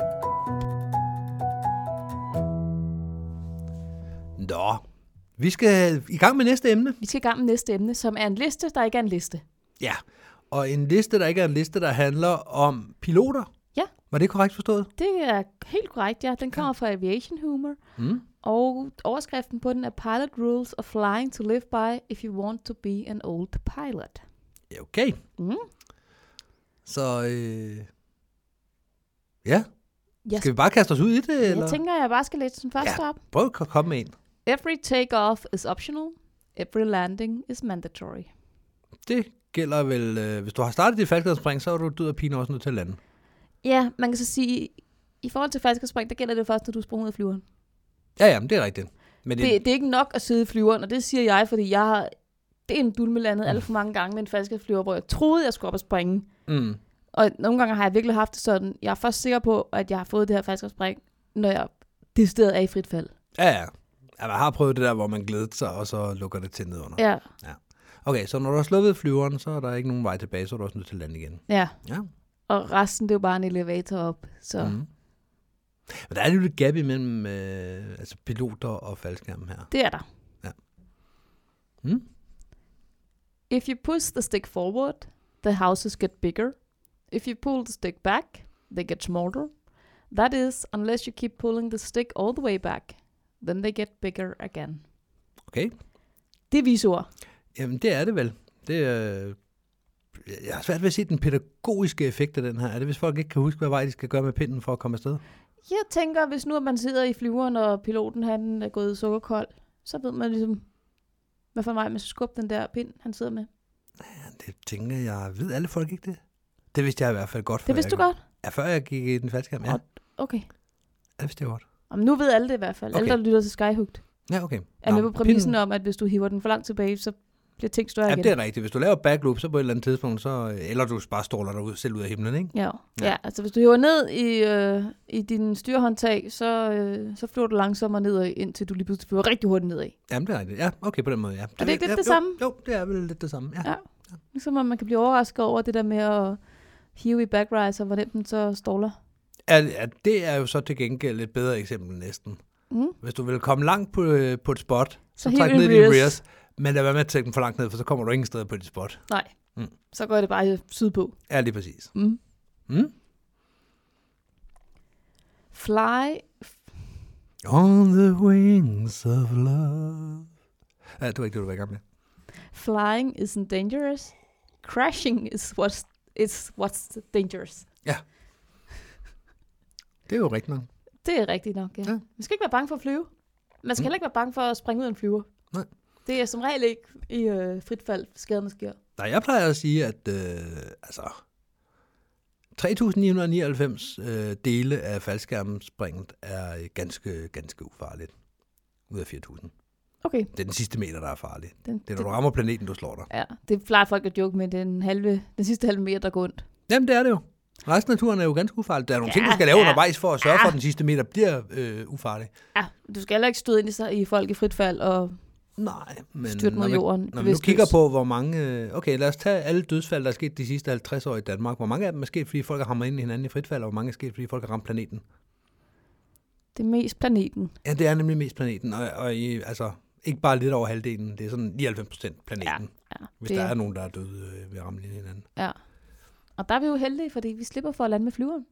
[SPEAKER 3] Nå, vi skal i gang med næste emne.
[SPEAKER 2] Vi skal i gang med næste emne, som er en liste, der ikke er en liste.
[SPEAKER 3] Ja, og en liste, der ikke er en liste, der handler om piloter.
[SPEAKER 2] Ja.
[SPEAKER 3] Var det korrekt forstået?
[SPEAKER 2] Det er helt korrekt, ja. Den kommer fra Aviation Humor.
[SPEAKER 3] Mm.
[SPEAKER 2] Og overskriften på den er Pilot Rules of Flying to Live By If You Want to Be an Old Pilot.
[SPEAKER 3] Ja, okay.
[SPEAKER 2] Mm.
[SPEAKER 3] Så øh... ja,
[SPEAKER 2] Jeg,
[SPEAKER 3] skal vi bare kaste os ud i det?
[SPEAKER 2] jeg
[SPEAKER 3] Eller?
[SPEAKER 2] tænker, jeg bare skal læse den første op.
[SPEAKER 3] Prøv at komme med en.
[SPEAKER 2] Every takeoff is optional. Every landing is mandatory.
[SPEAKER 3] Det gælder vel, øh, hvis du har startet dit faldskærspring, så er du død og pine også nødt til at lande.
[SPEAKER 2] Ja, man kan så sige, i forhold til falsk spring, der gælder det først, når du springer ud af flyveren.
[SPEAKER 3] Ja, ja, men det er rigtigt. Men det,
[SPEAKER 2] Det, det, er ikke nok at sidde i flyveren, og det siger jeg, fordi jeg har... Det er en dulme landet alt for mange gange med en falsk flyver, hvor jeg troede, jeg skulle op og springe.
[SPEAKER 3] Mm.
[SPEAKER 2] Og nogle gange har jeg virkelig haft det sådan, jeg er først sikker på, at jeg har fået det her falske spring, når jeg decideret er i frit fald.
[SPEAKER 3] Ja, ja. Ja, Jeg har prøvet det der, hvor man glæder sig, og så lukker det til nedunder.
[SPEAKER 2] Ja,
[SPEAKER 3] Okay, så når du har sluppet flyveren, så er der ikke nogen vej tilbage, så er du også nødt til at lande igen.
[SPEAKER 2] ja.
[SPEAKER 3] Ja.
[SPEAKER 2] Og resten, det er jo bare en elevator op. Så mm.
[SPEAKER 3] Mm. Men der er lidt et gap imellem øh, altså piloter og faldskærm her.
[SPEAKER 2] det er der.
[SPEAKER 3] Mm?
[SPEAKER 2] If you push the stick forward, the houses get bigger. If you pull the stick back, they get smaller. That is, unless you keep pulling the stick all the way back, then they get bigger again.
[SPEAKER 3] Okay.
[SPEAKER 2] Det er visord.
[SPEAKER 3] Jamen, det er det vel. Det, øh, jeg har svært ved at se den pædagogiske effekt af den her. Er det, hvis folk ikke kan huske, hvad vej de skal gøre med pinden for at komme afsted?
[SPEAKER 2] Jeg tænker, hvis nu at man sidder i flyveren, og piloten han er gået sukkerkold, så ved man ligesom, hvad for en vej man skal skubbe den der pind, han sidder med.
[SPEAKER 3] Ja, det tænker jeg. Ved alle folk ikke det? Det vidste jeg i hvert fald godt. før
[SPEAKER 2] Det vidste
[SPEAKER 3] jeg
[SPEAKER 2] du godt?
[SPEAKER 3] Ja, før jeg gik i den faldskærm, ja.
[SPEAKER 2] Og- Okay.
[SPEAKER 3] Det vidste jeg godt.
[SPEAKER 2] Jamen, nu ved alle det i hvert fald. Okay. Alle,
[SPEAKER 3] Okay.
[SPEAKER 2] der lytter til Skyhooked,
[SPEAKER 3] Ja, okay.
[SPEAKER 2] er med på præmissen om, at hvis du hiver den for langt tilbage, så bliver ting større
[SPEAKER 3] Ja,
[SPEAKER 2] igen.
[SPEAKER 3] det er rigtigt. Hvis du laver backloop, så på et eller andet tidspunkt, så, eller du bare stråler dig ud, selv ud af himlen, ikke?
[SPEAKER 2] Ja.
[SPEAKER 3] Ja.
[SPEAKER 2] ja. ja, altså hvis du hiver ned i, øh, i din styrhåndtag, så, øh, så flyver du langsommere nedad, indtil du lige pludselig flyver rigtig hurtigt nedad.
[SPEAKER 3] Jamen, det er rigtigt. Ja, okay, på den måde, ja.
[SPEAKER 2] Er det ikke
[SPEAKER 3] ja,
[SPEAKER 2] lidt det
[SPEAKER 3] jo,
[SPEAKER 2] samme?
[SPEAKER 3] Jo, det er vel lidt det samme, ja.
[SPEAKER 2] Ja. Ligesom om man kan blive overrasket over det der med at hive i backrise, og hvor nemt den så ståler.
[SPEAKER 3] ja. ja. det er jo så til gengæld et bedre eksempel næsten.
[SPEAKER 2] Mm.
[SPEAKER 3] Hvis du vil komme langt på, øh, på et spot, så,
[SPEAKER 2] hiv
[SPEAKER 3] træk
[SPEAKER 2] i
[SPEAKER 3] ned i dine
[SPEAKER 2] rears.
[SPEAKER 3] rears, men lad være med at trække den for langt ned, for så kommer du ingen steder på dit spot.
[SPEAKER 2] Nej,
[SPEAKER 3] Mm.
[SPEAKER 2] mm. så går det bare sydpå.
[SPEAKER 3] Ja, lige præcis.
[SPEAKER 2] Mm.
[SPEAKER 3] Mm?
[SPEAKER 2] Fly,
[SPEAKER 3] On the wings of love. Ja, det var ikke det, du var i gang med.
[SPEAKER 2] flying isn't dangerous. Crashing is what's, is what's dangerous.
[SPEAKER 3] Det er jo rigtigt nok.
[SPEAKER 2] Det er rigtigt nok, ja.
[SPEAKER 3] Ja.
[SPEAKER 2] ja. Man skal ikke være bange for at flyve. Man skal
[SPEAKER 3] Mm.
[SPEAKER 2] heller ikke være bange for at springe ud af en flyver.
[SPEAKER 3] Nej.
[SPEAKER 2] Det er som regel ikke i øh, frit fald, skaderne sker.
[SPEAKER 3] Nej, jeg plejer at sige, at øh, altså, 3.999 øh, dele af faldskærmspringet er øh, ganske, ganske ufarligt. Ud af 4.000.
[SPEAKER 2] Okay.
[SPEAKER 3] Det er den sidste meter, der er farlig.
[SPEAKER 2] Den,
[SPEAKER 3] Det er, når du rammer planeten, du slår dig.
[SPEAKER 2] ja, det plejer folk at joke med den, halve, den sidste halve meter, der går ondt.
[SPEAKER 3] Jamen, det er det jo. Resten af turen er jo ganske ufarlig. Der er nogle ja,
[SPEAKER 2] Ja,
[SPEAKER 3] ting, du skal lave
[SPEAKER 2] ja.
[SPEAKER 3] ja. undervejs for at sørge ja. for, at den sidste meter bliver øh, ufarlig.
[SPEAKER 2] Ja, du skal heller ikke støde ind i, sig- i folk i frit fald, og
[SPEAKER 3] Nej, men
[SPEAKER 2] Styrt mod
[SPEAKER 3] når,
[SPEAKER 2] jorden,
[SPEAKER 3] vi, når vi nu
[SPEAKER 2] bevidstløs.
[SPEAKER 3] kigger på, hvor mange... øh, Okay, lad os tage alle dødsfald, der er sket de sidste 50 år i Danmark. Hvor mange af dem er sket, fordi folk har hamret ind i hinanden i fritfald, og hvor mange er sket, fordi folk har ramt planeten?
[SPEAKER 2] det er mest planeten.
[SPEAKER 3] Ja, det er nemlig mest planeten, og, og i, altså ikke bare lidt over halvdelen, det er sådan 99 procent planeten, ja,
[SPEAKER 2] Ja,
[SPEAKER 3] hvis
[SPEAKER 2] det,
[SPEAKER 3] der er nogen, der er døde øh, ved at ramme ind i hinanden.
[SPEAKER 2] Ja. Og der er vi jo heldige, fordi vi slipper for at lande med flyveren.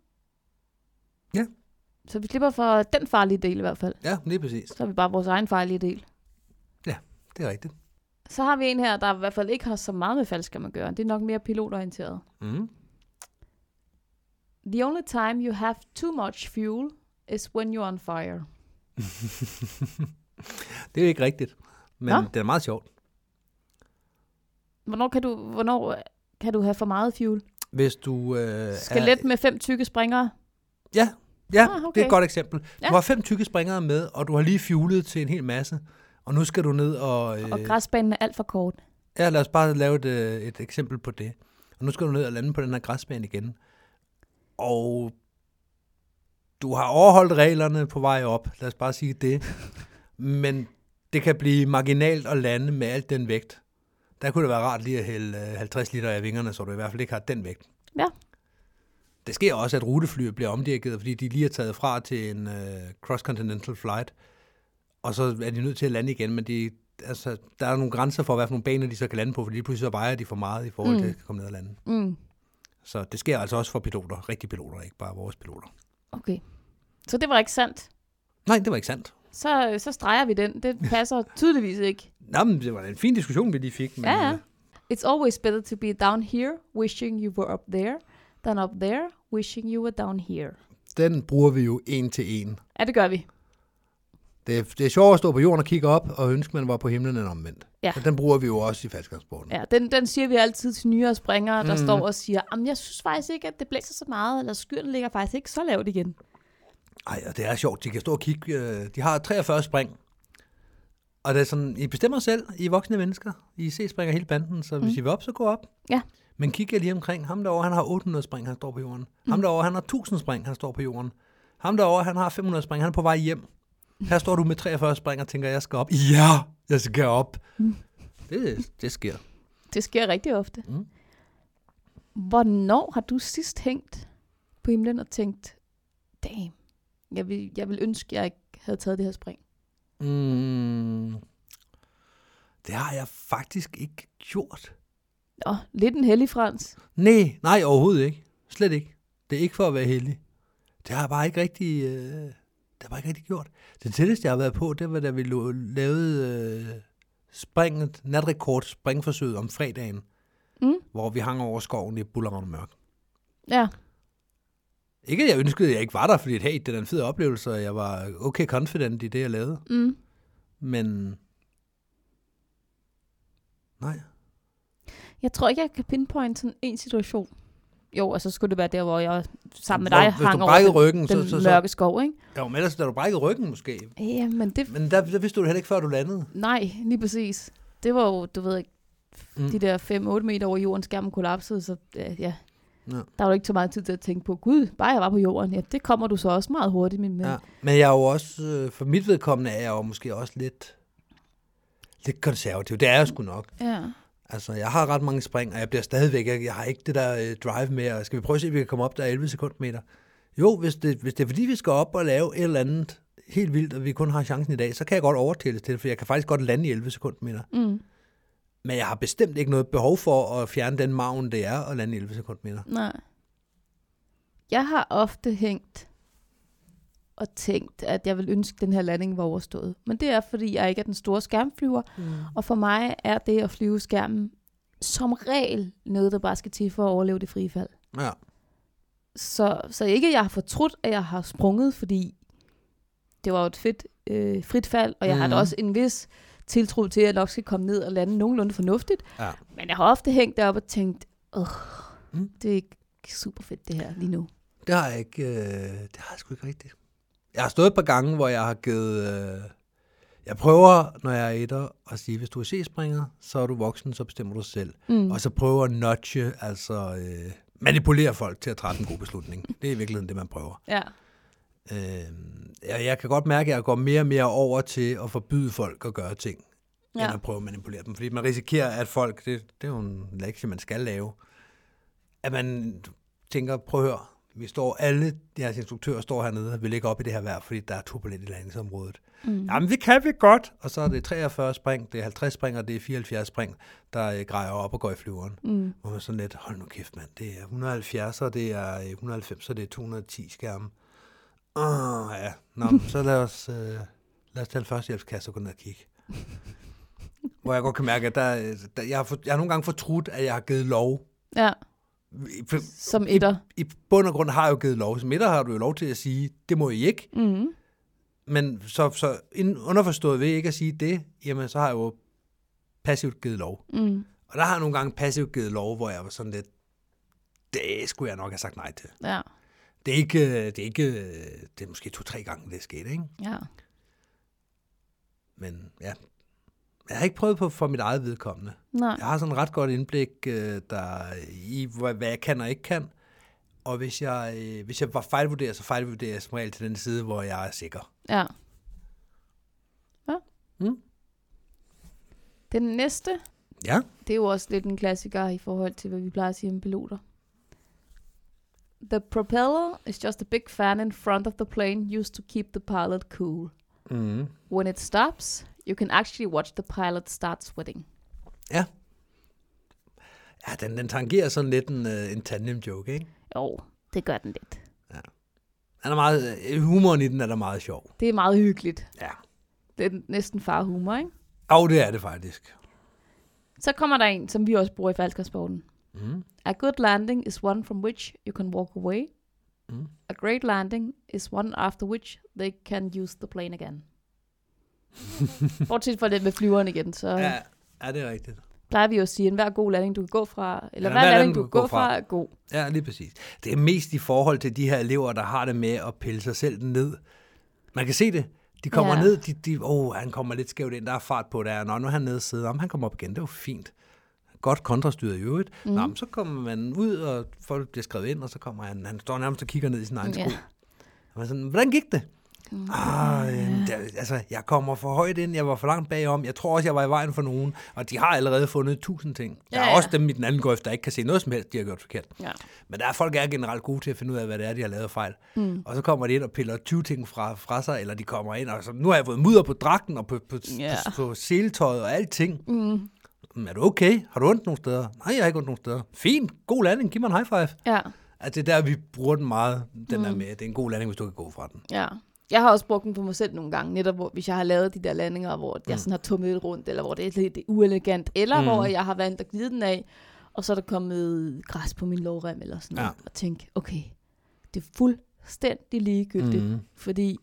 [SPEAKER 3] Ja.
[SPEAKER 2] Så vi slipper for den farlige del i hvert fald.
[SPEAKER 3] Ja, lige præcis.
[SPEAKER 2] Så er vi bare vores egen farlige del.
[SPEAKER 3] Det er rigtigt.
[SPEAKER 2] Så har vi en her, der i hvert fald ikke har så meget med faldskærm at gøre. Det er nok mere pilotorienteret.
[SPEAKER 3] Mm.
[SPEAKER 2] The only time you have too much fuel is when you're on fire.
[SPEAKER 3] Det er jo ikke rigtigt, men
[SPEAKER 2] Nå.
[SPEAKER 3] Nå? det er meget sjovt.
[SPEAKER 2] Hvornår kan du, hvornår øh, kan du have for meget fuel?
[SPEAKER 3] Hvis du øh,
[SPEAKER 2] Skelet
[SPEAKER 3] Er,
[SPEAKER 2] med fem tykke springere.
[SPEAKER 3] ja, ja
[SPEAKER 2] Ah,
[SPEAKER 3] ah,
[SPEAKER 2] okay.
[SPEAKER 3] okay. det er et godt eksempel.
[SPEAKER 2] Ja.
[SPEAKER 3] Ja. Du har fem tykke springere med, og du har lige fjulet til en hel masse, og nu skal du ned og... Øh,
[SPEAKER 2] Og græsbanen er alt for kort.
[SPEAKER 3] Ja, lad os bare lave et, øh, et eksempel på det. Og nu skal du ned og lande på den her græsbane igen. Og du har overholdt reglerne på vej op, lad os bare sige det. Men det kan blive marginalt at lande med alt den vægt. Der kunne det være rart lige at hælde øh, 50 liter af vingerne, så du i hvert fald ikke har den vægt.
[SPEAKER 2] Ja.
[SPEAKER 3] Det sker også, at rutefly bliver omdirket, fordi de lige er taget fra til en øh, cross-continental flight. Og så er de nødt til at lande igen, men de, altså, der er nogle grænser for, hvad for nogle baner de så kan lande på, fordi lige pludselig så vejer de for meget i forhold
[SPEAKER 2] Mm.
[SPEAKER 3] mm. til at komme ned og lande.
[SPEAKER 2] Mm,
[SPEAKER 3] Så det sker altså også for piloter, rigtige piloter, ikke bare vores piloter.
[SPEAKER 2] okay. Så det var ikke sandt.
[SPEAKER 3] Nej, det var ikke sandt.
[SPEAKER 2] Så, øh, så streger vi den. Det passer tydeligvis ikke.
[SPEAKER 3] Nå, men det var da en fin diskussion, vi lige fik. Men,
[SPEAKER 2] Ja, ja.
[SPEAKER 3] øh,
[SPEAKER 2] It's always better to be down here, wishing you were up there, than up there, wishing you were down here.
[SPEAKER 3] Den bruger vi jo en til en.
[SPEAKER 2] Ja, det gør vi.
[SPEAKER 3] Det er, det er sjovt at stå på jorden og kigge op og ønske, man var på himlen end omvendt.
[SPEAKER 2] Ja.
[SPEAKER 3] Så den bruger vi jo også i faldskabsporten.
[SPEAKER 2] Ja, den, den siger vi altid til nyere springere, der mm. står og siger, Jamen, jeg synes faktisk ikke, at det blæser så meget, eller skyerne ligger faktisk ikke så lavt igen.
[SPEAKER 3] Ej, og det er sjovt. De kan stå og kigge. øh, De har 43 spring. Og det er sådan, I bestemmer selv, I er voksne mennesker. I se springer hele banden, så hvis mm. I vil op, så gå op.
[SPEAKER 2] Ja.
[SPEAKER 3] Men kig jer lige omkring. Ham derovre, han har 800 spring, han står på jorden. Mm. Ham derovre, han har 1000 spring, han står på jorden. Ham derovre, han har 500 spring, han er på vej hjem. Her står du med 43 spring og tænker, jeg skal op. Ja, jeg skal op. Det, det sker.
[SPEAKER 2] Det sker rigtig ofte.
[SPEAKER 3] Mm.
[SPEAKER 2] Hvornår har du sidst hængt på himlen og tænkt, damn, jeg vil, jeg vil ønske, jeg ikke havde taget det her spring?
[SPEAKER 3] Mm. Det har jeg faktisk ikke gjort.
[SPEAKER 2] Nå, lidt en hellig frans.
[SPEAKER 3] Nej, nej, overhovedet ikke. Slet ikke. Det er ikke for at være heldig. Det har jeg bare ikke rigtig, øh, det har jeg bare ikke rigtig gjort. Det tætteste, jeg har været på, det var, da vi lo- lavede øh, springet, natrekord springforsøget om fredagen,
[SPEAKER 2] Mm.
[SPEAKER 3] hvor vi hang over skoven i Bullerhavn Mørk.
[SPEAKER 2] Ja,
[SPEAKER 3] Ikke, at jeg ønskede, at jeg ikke var der, fordi hey, det er da en fed oplevelse, og jeg var okay confident i det, jeg lavede.
[SPEAKER 2] mm.
[SPEAKER 3] Men nej,
[SPEAKER 2] Jeg tror ikke, jeg kan pinpointe sådan en situation. Jo, og så skulle det være der, hvor jeg sammen med
[SPEAKER 3] Hvor-
[SPEAKER 2] dig
[SPEAKER 3] hvis
[SPEAKER 2] hang
[SPEAKER 3] du
[SPEAKER 2] over
[SPEAKER 3] brækkede
[SPEAKER 2] den,
[SPEAKER 3] ryggen,
[SPEAKER 2] den
[SPEAKER 3] så- så- så-
[SPEAKER 2] mørke skov, ikke?
[SPEAKER 3] jo, men ellers, da du brækkede ryggen måske.
[SPEAKER 2] Ja, men det...
[SPEAKER 3] Men der, der vidste du det heller ikke, før du landede.
[SPEAKER 2] Nej, lige præcis. Det var jo, du ved ikke,
[SPEAKER 3] Mm.
[SPEAKER 2] de der 5-8 meter over jorden, skærmen kollapsede, så øh, ja.
[SPEAKER 3] Ja.
[SPEAKER 2] Der var jo ikke så meget tid til at tænke på, gud, bare jeg var på jorden. Ja, det kommer du så også meget hurtigt med.
[SPEAKER 3] Ja,
[SPEAKER 2] Ja.
[SPEAKER 3] men jeg er jo også, øh, for mit vedkommende er jeg jo måske også lidt, lidt konservativ. Det er jeg sgu nok.
[SPEAKER 2] ja.
[SPEAKER 3] Altså, jeg har ret mange spring, og jeg bliver stadigvæk, jeg, jeg har ikke det der øh, drive med, og skal vi prøve at se, om vi kan komme op der 11 sekundmeter? Jo, hvis det, hvis det er fordi, vi skal op og lave et eller andet helt vildt, og vi kun har chancen i dag, så kan jeg godt overtælle til det, for jeg kan faktisk godt lande i 11 sekundmeter.
[SPEAKER 2] Mm.
[SPEAKER 3] Men jeg har bestemt ikke noget behov for at fjerne den maven, det er at lande i 11 sekundmeter.
[SPEAKER 2] Nej. Jeg har ofte hængt og tænkt, at jeg vil ønske, at den her landing var overstået. Men det er, fordi jeg ikke er den store skærmflyver, mm. og for mig er det at flyve skærmen som regel noget, der bare skal til for at overleve det frie fald.
[SPEAKER 3] Ja.
[SPEAKER 2] Så, så ikke, at jeg har fortrudt, at jeg har sprunget, fordi det var jo et fedt, øh, frit fald, og jeg mm. har da
[SPEAKER 3] Mhm.
[SPEAKER 2] også en vis tiltro til, at jeg nok skal komme ned og lande nogenlunde fornuftigt.
[SPEAKER 3] Ja.
[SPEAKER 2] Men jeg har ofte hængt deroppe og tænkt, åh, mm.
[SPEAKER 3] Mm.
[SPEAKER 2] det er ikke super fedt det her lige nu.
[SPEAKER 3] Det har jeg ikke, øh, det har jeg sgu ikke rigtigt. Jeg har stået et par gange, hvor jeg har givet... Øh, jeg prøver, når jeg er etter, at sige, hvis du er C-springer, så er du voksen, så bestemmer du selv.
[SPEAKER 2] Mm.
[SPEAKER 3] Og så prøver at nudge, altså øh, manipulere folk til at træffe en god beslutning. Det er i virkeligheden det, man prøver.
[SPEAKER 2] Ja.
[SPEAKER 3] Øh, jeg, jeg kan godt mærke, at jeg går mere og mere over til at forbyde folk at gøre ting, ja. end
[SPEAKER 2] ja.
[SPEAKER 3] at prøve at manipulere dem. Fordi man risikerer, at folk, det, det er jo en lektie, man skal lave, at man tænker, prøv at høre, vi står alle, jeres instruktører står hernede og vil ikke op i det her vejr, fordi der er turbulent i landingsområdet. Mm. Jamen, det kan vi godt! Og så er det 43 spring, det er 50 spring, og det er 74 spring, der øh, grejer op og går i flyveren. Mm. Hvor man sådan lidt, hold nu kæft mand, det er 170, og det er øh, 190, og det er 210 skærme. Åh, ja. Nå, men så lad os, øh, lad os tage en førstehjælpskasse og gå ned og kigge. Hvor jeg godt kan mærke, at der, øh, der, jeg, har for, jeg har nogle gange fortrudt, at jeg har givet lov.
[SPEAKER 2] ja.
[SPEAKER 3] For,
[SPEAKER 2] Som etter.
[SPEAKER 3] I bund og grund har jeg jo givet lov. Som etter har du jo lov til at sige, det må I ikke.
[SPEAKER 2] Mm.
[SPEAKER 3] Men så, så inden- underforstået ved ikke at sige det, jamen så har jeg jo passivt givet lov.
[SPEAKER 2] Mm.
[SPEAKER 3] Og der har jeg nogle gange passivt givet lov, hvor jeg var sådan lidt, det skulle jeg nok have sagt nej til.
[SPEAKER 2] Ja.
[SPEAKER 3] Det er ikke, øh, det er, ikke, øh, det er måske to-tre gange, det er sket, ikke?
[SPEAKER 2] Ja.
[SPEAKER 3] Men ja, jeg har ikke prøvet på for mit eget vedkommende.
[SPEAKER 2] Nej.
[SPEAKER 3] Jeg har sådan ret godt indblik øh, der, i, hvad, hvad jeg kan og ikke kan. Og hvis jeg, øh, hvis jeg var fejlvurderet, så fejlvurderer jeg som regel til den side, hvor jeg er sikker.
[SPEAKER 2] Ja. ja.
[SPEAKER 3] Mm.
[SPEAKER 2] Den næste,
[SPEAKER 3] Ja.
[SPEAKER 2] det er jo også lidt en klassiker i forhold til, hvad vi plejer at sige om piloter. The propeller is just a big fan in front of the plane used to keep the pilot cool.
[SPEAKER 3] Mm.
[SPEAKER 2] When it stops, you can actually watch the pilot start sweating.
[SPEAKER 3] Ja. Ja, den, den tangerer sådan lidt en, øh, en tandem joke, ikke?
[SPEAKER 2] Jo, det gør den lidt.
[SPEAKER 3] Den er meget, øh, humoren i den er da meget sjov.
[SPEAKER 2] Det er meget hyggeligt.
[SPEAKER 3] Ja.
[SPEAKER 2] Det er næsten farhumor, ikke?
[SPEAKER 3] Og det er det faktisk.
[SPEAKER 2] Så kommer der en, som vi også bruger i falskersporten.
[SPEAKER 3] Mm.
[SPEAKER 2] A good landing is one from which you can walk away.
[SPEAKER 3] Mm.
[SPEAKER 2] A great landing is one after which they can use the plane again. Bortset fra det med flyveren igen, så ja.
[SPEAKER 3] Ja, ja, det er rigtigt.
[SPEAKER 2] plejer vi jo at sige, at hver god landing, du kan gå fra, eller
[SPEAKER 3] Ja,
[SPEAKER 2] hver landing, du kan gå fra,
[SPEAKER 3] fra.
[SPEAKER 2] er god.
[SPEAKER 3] Ja, lige præcis. Det er mest i forhold til de her elever, der har det med at pille sig selv ned. Man kan se det. De kommer
[SPEAKER 2] Ja.
[SPEAKER 3] ja. ned, de, de, oh, han kommer lidt skævt ind, der er fart på der. Nå, nu er han nede og sidder. Om han kommer op igen, det var fint. Godt kontrastyret i øvrigt.
[SPEAKER 2] Mhm.
[SPEAKER 3] Mm. Nå, men så kommer man ud, og folk bliver skrevet ind, og så kommer han, han står nærmest og kigger ned i sin egen sko.
[SPEAKER 2] Ja.
[SPEAKER 3] Og man er sådan, hvordan gik det? Mm. Ah, øh, der, altså, jeg kommer for højt ind, jeg var for langt bagom, jeg tror også, jeg var i vejen for nogen, og de har allerede fundet tusind ting. Der
[SPEAKER 2] Ja,
[SPEAKER 3] er
[SPEAKER 2] ja.
[SPEAKER 3] også dem i den anden golf, der ikke kan se noget som helst, de har gjort forkert.
[SPEAKER 2] Ja.
[SPEAKER 3] Men der er folk, der er generelt gode til at finde ud af, hvad det er, de har lavet af fejl. Mm. Og så kommer de ind og piller 20 ting fra, fra sig, eller de kommer ind, og så, nu har jeg fået mudder på dragten, og på, på,
[SPEAKER 2] Ja.
[SPEAKER 3] yeah. på, på seletøjet og alting. Mm. Er du okay? Har du ondt nogle steder? Nej, jeg har ikke ondt nogen steder. Fint, god landing, giv mig en high five.
[SPEAKER 2] ja,
[SPEAKER 3] Altså, det er der, vi bruger den meget, den mm. der med, det er en god landing, hvis du kan gå fra den.
[SPEAKER 2] ja. Jeg har også brugt den på mig selv nogle gange, netop hvor, hvis jeg har lavet de der landinger, hvor mm. jeg sådan har tummet lidt rundt, eller hvor det er lidt uelegant, eller mm. hvor jeg har valgt at glide den af, og så er der kommet græs på min lovrem eller sådan noget,
[SPEAKER 3] Ja.
[SPEAKER 2] og tænke, okay, det er fuldstændig ligegyldigt, mm. fordi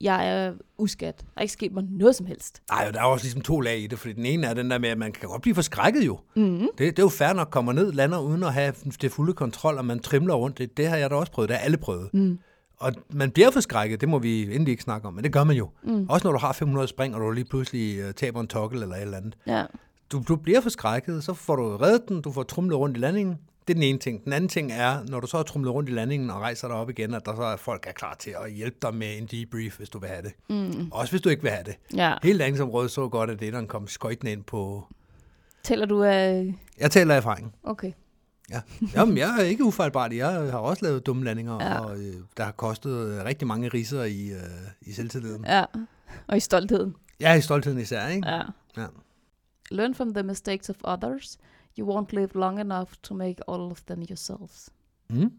[SPEAKER 2] jeg er uskat. Der er ikke sket mig noget som helst.
[SPEAKER 3] Nej, og der er også ligesom to lag i det, fordi den ene er den der med, at man kan godt blive forskrækket jo. Mm. Det, det er jo fair nok, kommer ned, lander uden at have det fulde kontrol, og man trimler rundt. Det, det har jeg da også prøvet, det har alle prøvet. Mm. Og man bliver forskrækket, det må vi endelig ikke snakke om, men det gør man jo. Mm. Også når du har 500 spring, og du lige pludselig øh, taber en tokkel eller et eller andet.
[SPEAKER 2] Ja.
[SPEAKER 3] Du, du bliver forskrækket, så får du reddet den, du får trumlet rundt i landingen. Det er den ene ting. Den anden ting er, når du så har trumlet rundt i landingen og rejser dig op igen, at der så er folk er klar til at hjælpe dig med en debrief, hvis du vil have det. Mm. Også hvis du ikke vil have det.
[SPEAKER 2] ja.
[SPEAKER 3] Hele landingsområdet så godt, at det, der kom skøjtene ind på...
[SPEAKER 2] Tæller du af...
[SPEAKER 3] Jeg taler af erfaring.
[SPEAKER 2] Okay.
[SPEAKER 3] Ja. Jamen, jeg er ikke ufejlbarlig. Jeg har også lavet dumme landinger, ja. og øh, der har kostet øh, rigtig mange riser i, øh, i selvtilliden.
[SPEAKER 2] Ja. Og i stoltheden.
[SPEAKER 3] Ja, i stoltheden især, ikke?
[SPEAKER 2] Ja.
[SPEAKER 3] Ja.
[SPEAKER 2] Learn from the mistakes of others. You won't live long enough to make all of them yourselves.
[SPEAKER 3] Mm.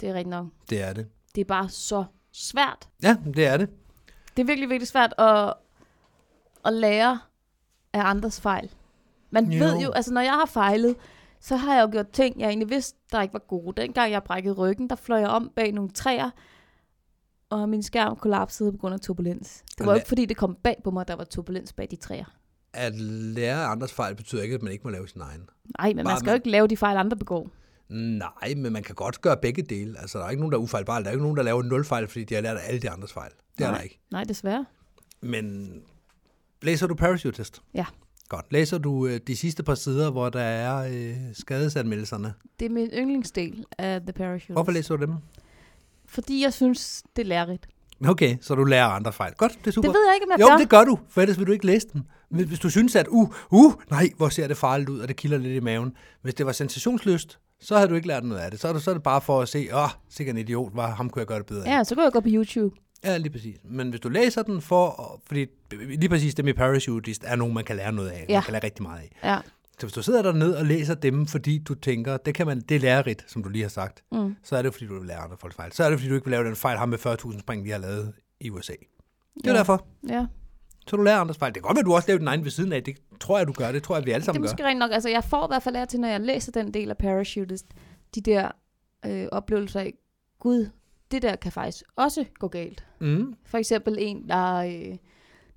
[SPEAKER 2] Det er rigtigt nok.
[SPEAKER 3] Det er det.
[SPEAKER 2] Det er bare så svært.
[SPEAKER 3] Ja, det er det.
[SPEAKER 2] Det er virkelig, virkelig svært at, at lære af andres fejl. Man jo.
[SPEAKER 3] Jo.
[SPEAKER 2] ved jo, altså når jeg har fejlet, så har jeg jo gjort ting, jeg egentlig vidste, der ikke var gode. Dengang jeg brækkede ryggen, der fløj jeg om bag nogle træer, og min skærm kollapsede på grund af turbulens. Det var jo
[SPEAKER 3] Men-
[SPEAKER 2] ikke fordi, det kom bag på mig, der var turbulens bag de træer.
[SPEAKER 3] At lære af andres fejl betyder ikke, at man ikke må lave sin egen.
[SPEAKER 2] Nej, men man
[SPEAKER 3] Bare
[SPEAKER 2] skal jo
[SPEAKER 3] man-
[SPEAKER 2] ikke lave de fejl, andre begår.
[SPEAKER 3] Nej, men man kan godt gøre begge dele. Altså, der er ikke nogen, der er ufejlbarlige. Der er ikke nogen, der laver nul fejl, fordi de har lært af alle de andres fejl. Det er der ikke.
[SPEAKER 2] Nej, desværre.
[SPEAKER 3] Men læser du parachute-test?
[SPEAKER 2] Ja.
[SPEAKER 3] Godt. Læser du øh, de sidste par sider, hvor der er øh, skadesanmeldelserne?
[SPEAKER 2] Det er min yndlingsdel af The Parachute.
[SPEAKER 3] Hvorfor læser du dem?
[SPEAKER 2] Fordi jeg synes, det er lærerigt.
[SPEAKER 3] Okay, så du lærer andre fejl. Godt, det er super.
[SPEAKER 2] Det ved jeg ikke, om jeg
[SPEAKER 3] jo,
[SPEAKER 2] gør.
[SPEAKER 3] det gør du, for ellers vil du ikke læse den. Men Hvis du synes, at uh, uh, nej, hvor ser det farligt ud, og det kilder lidt i maven. Hvis det var sensationsløst, så havde du ikke lært noget af det. Så er det, så er det bare for at se, åh, oh, sikkert en idiot, var, ham kunne jeg gøre det bedre. af."
[SPEAKER 2] Ja, så kan jeg gå på YouTube.
[SPEAKER 3] ja, lige præcis. Men hvis du læser den for, fordi lige præcis det med parachutist er nogen, man kan lære noget af.
[SPEAKER 2] Ja.
[SPEAKER 3] Man kan lære rigtig meget af.
[SPEAKER 2] Ja.
[SPEAKER 3] Så hvis du sidder dernede og læser dem, fordi du tænker, det, kan man, det er lærerigt, som du lige har sagt, mm. så er det fordi, du vil lære andre folks fejl. Så er det fordi, du ikke vil lave den fejl, ham med 40.000 spring, de har lavet i USA. Det er ja.
[SPEAKER 2] Ja.
[SPEAKER 3] derfor.
[SPEAKER 2] ja.
[SPEAKER 3] Så du lærer andres fejl. Det kan godt være, du også laver din egen ved siden af. Det tror jeg, du gør. Det tror jeg, vi alle
[SPEAKER 2] Det er
[SPEAKER 3] sammen gør.
[SPEAKER 2] måske rent nok. Altså, jeg får i hvert fald af til, når jeg læser den del af Parachutist, de der øh, oplevelser af, gud, det der kan faktisk også gå galt.
[SPEAKER 3] Mm.
[SPEAKER 2] For eksempel en, der, øh,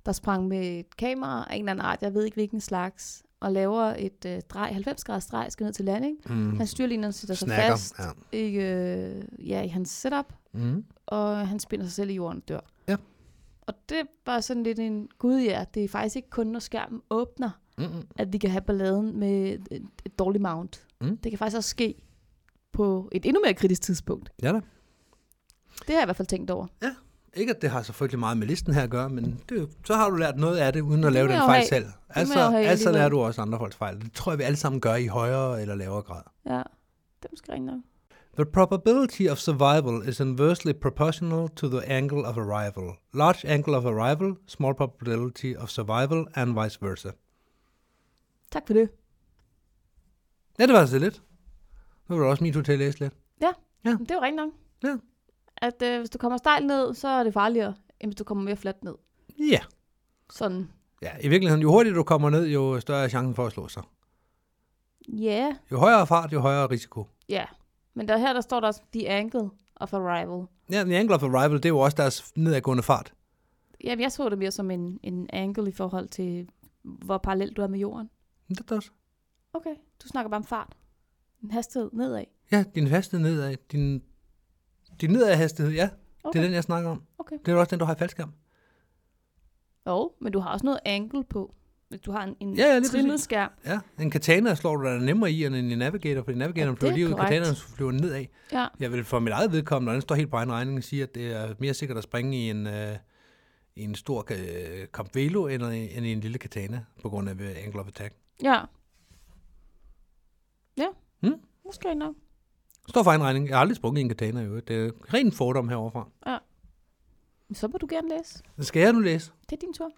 [SPEAKER 2] der sprang med et kamera af en eller anden art, jeg ved ikke hvilken slags, og laver et øh, drej, 90 graders drej, skal ned til landing.
[SPEAKER 3] Mm.
[SPEAKER 2] Hans styrlinjer sætter sig
[SPEAKER 3] Snakker.
[SPEAKER 2] fast
[SPEAKER 3] Ja.
[SPEAKER 2] i, øh, ja, i hans setup,
[SPEAKER 3] Mm.
[SPEAKER 2] og han spinder sig selv i jorden og dør.
[SPEAKER 3] Ja.
[SPEAKER 2] Og det var sådan lidt en, gud ja, det er faktisk ikke kun, når skærmen åbner,
[SPEAKER 3] Mm.
[SPEAKER 2] at vi kan have balladen med et, et dårligt mount.
[SPEAKER 3] Mm.
[SPEAKER 2] Det kan faktisk også ske på et endnu mere kritisk tidspunkt.
[SPEAKER 3] Ja da.
[SPEAKER 2] Det har jeg i hvert fald tænkt over.
[SPEAKER 3] Ikke, at det har så frygtelig meget med listen her at gøre, men det, så har du lært noget af det, uden at
[SPEAKER 2] Det
[SPEAKER 3] lave
[SPEAKER 2] må
[SPEAKER 3] den
[SPEAKER 2] jeg jo
[SPEAKER 3] fejl
[SPEAKER 2] have.
[SPEAKER 3] selv. Altså,
[SPEAKER 2] jeg jo have
[SPEAKER 3] altså lærer
[SPEAKER 2] alligevel.
[SPEAKER 3] du også andre folks fejl. Det tror jeg, vi alle sammen gør i højere eller lavere grad.
[SPEAKER 2] Ja, det er måske rigtigt nok.
[SPEAKER 3] The probability of survival is inversely proportional to the angle of arrival. Large angle of arrival, small probability of survival, and vice versa.
[SPEAKER 2] Tak for det.
[SPEAKER 3] Ja, det var altså lidt. Nu var det også min tur til at læse lidt.
[SPEAKER 2] Men Det er jo rigtigt nok.
[SPEAKER 3] Ja.
[SPEAKER 2] At øh, hvis du kommer stejlt ned, så er det farligere, end hvis du kommer mere fladt ned.
[SPEAKER 3] Ja.
[SPEAKER 2] Sådan,
[SPEAKER 3] Ja, i virkeligheden, jo hurtigere du kommer ned, jo større er chancen for at slå sig.
[SPEAKER 2] ja, yeah.
[SPEAKER 3] Jo højere fart, jo højere risiko.
[SPEAKER 2] ja. Yeah. Men der her, der står der også, the angle of arrival.
[SPEAKER 3] Ja, the angle of arrival, det er jo også deres nedadgående fart.
[SPEAKER 2] Jamen, jeg så det mere som en, en angle i forhold til, hvor parallelt du er med jorden.
[SPEAKER 3] Men Det er også.
[SPEAKER 2] Okay, du snakker bare om fart. En hastighed nedad.
[SPEAKER 3] Ja, din hastighed nedad. Din, din nedad hastighed, ja. Okay.
[SPEAKER 2] Okay.
[SPEAKER 3] Det er den, jeg snakker om.
[SPEAKER 2] Okay.
[SPEAKER 3] Det er også den, du har i faldskærm.
[SPEAKER 2] Jo, men du har også noget angle på. Hvis du har en, en
[SPEAKER 3] Ja, ja, lige
[SPEAKER 2] trimmet
[SPEAKER 3] præcis.
[SPEAKER 2] skærm.
[SPEAKER 3] Ja, en katana slår du dig nemmere i, end en i navigator, fordi navigatoren
[SPEAKER 2] Ja, det
[SPEAKER 3] flyver
[SPEAKER 2] er
[SPEAKER 3] lige ud,
[SPEAKER 2] korrekt.
[SPEAKER 3] katanaen flyver nedad.
[SPEAKER 2] Ja,
[SPEAKER 3] Jeg vil for mit eget vedkommende, og den står helt på egen regning, sige, at det er mere sikkert at springe i en, øh, i en stor øh, Camp Velo, end, i- end i en lille katana, på grund af øh, angle of attack.
[SPEAKER 2] ja. Ja,
[SPEAKER 3] Hmm?
[SPEAKER 2] måske nok.
[SPEAKER 3] Står for egen regning. Jeg har aldrig sprunget i en katana, jo. Det er ren fordom heroverfra.
[SPEAKER 2] Men Så må du gerne læse.
[SPEAKER 3] Skal jeg nu læse?
[SPEAKER 2] Det er din tur.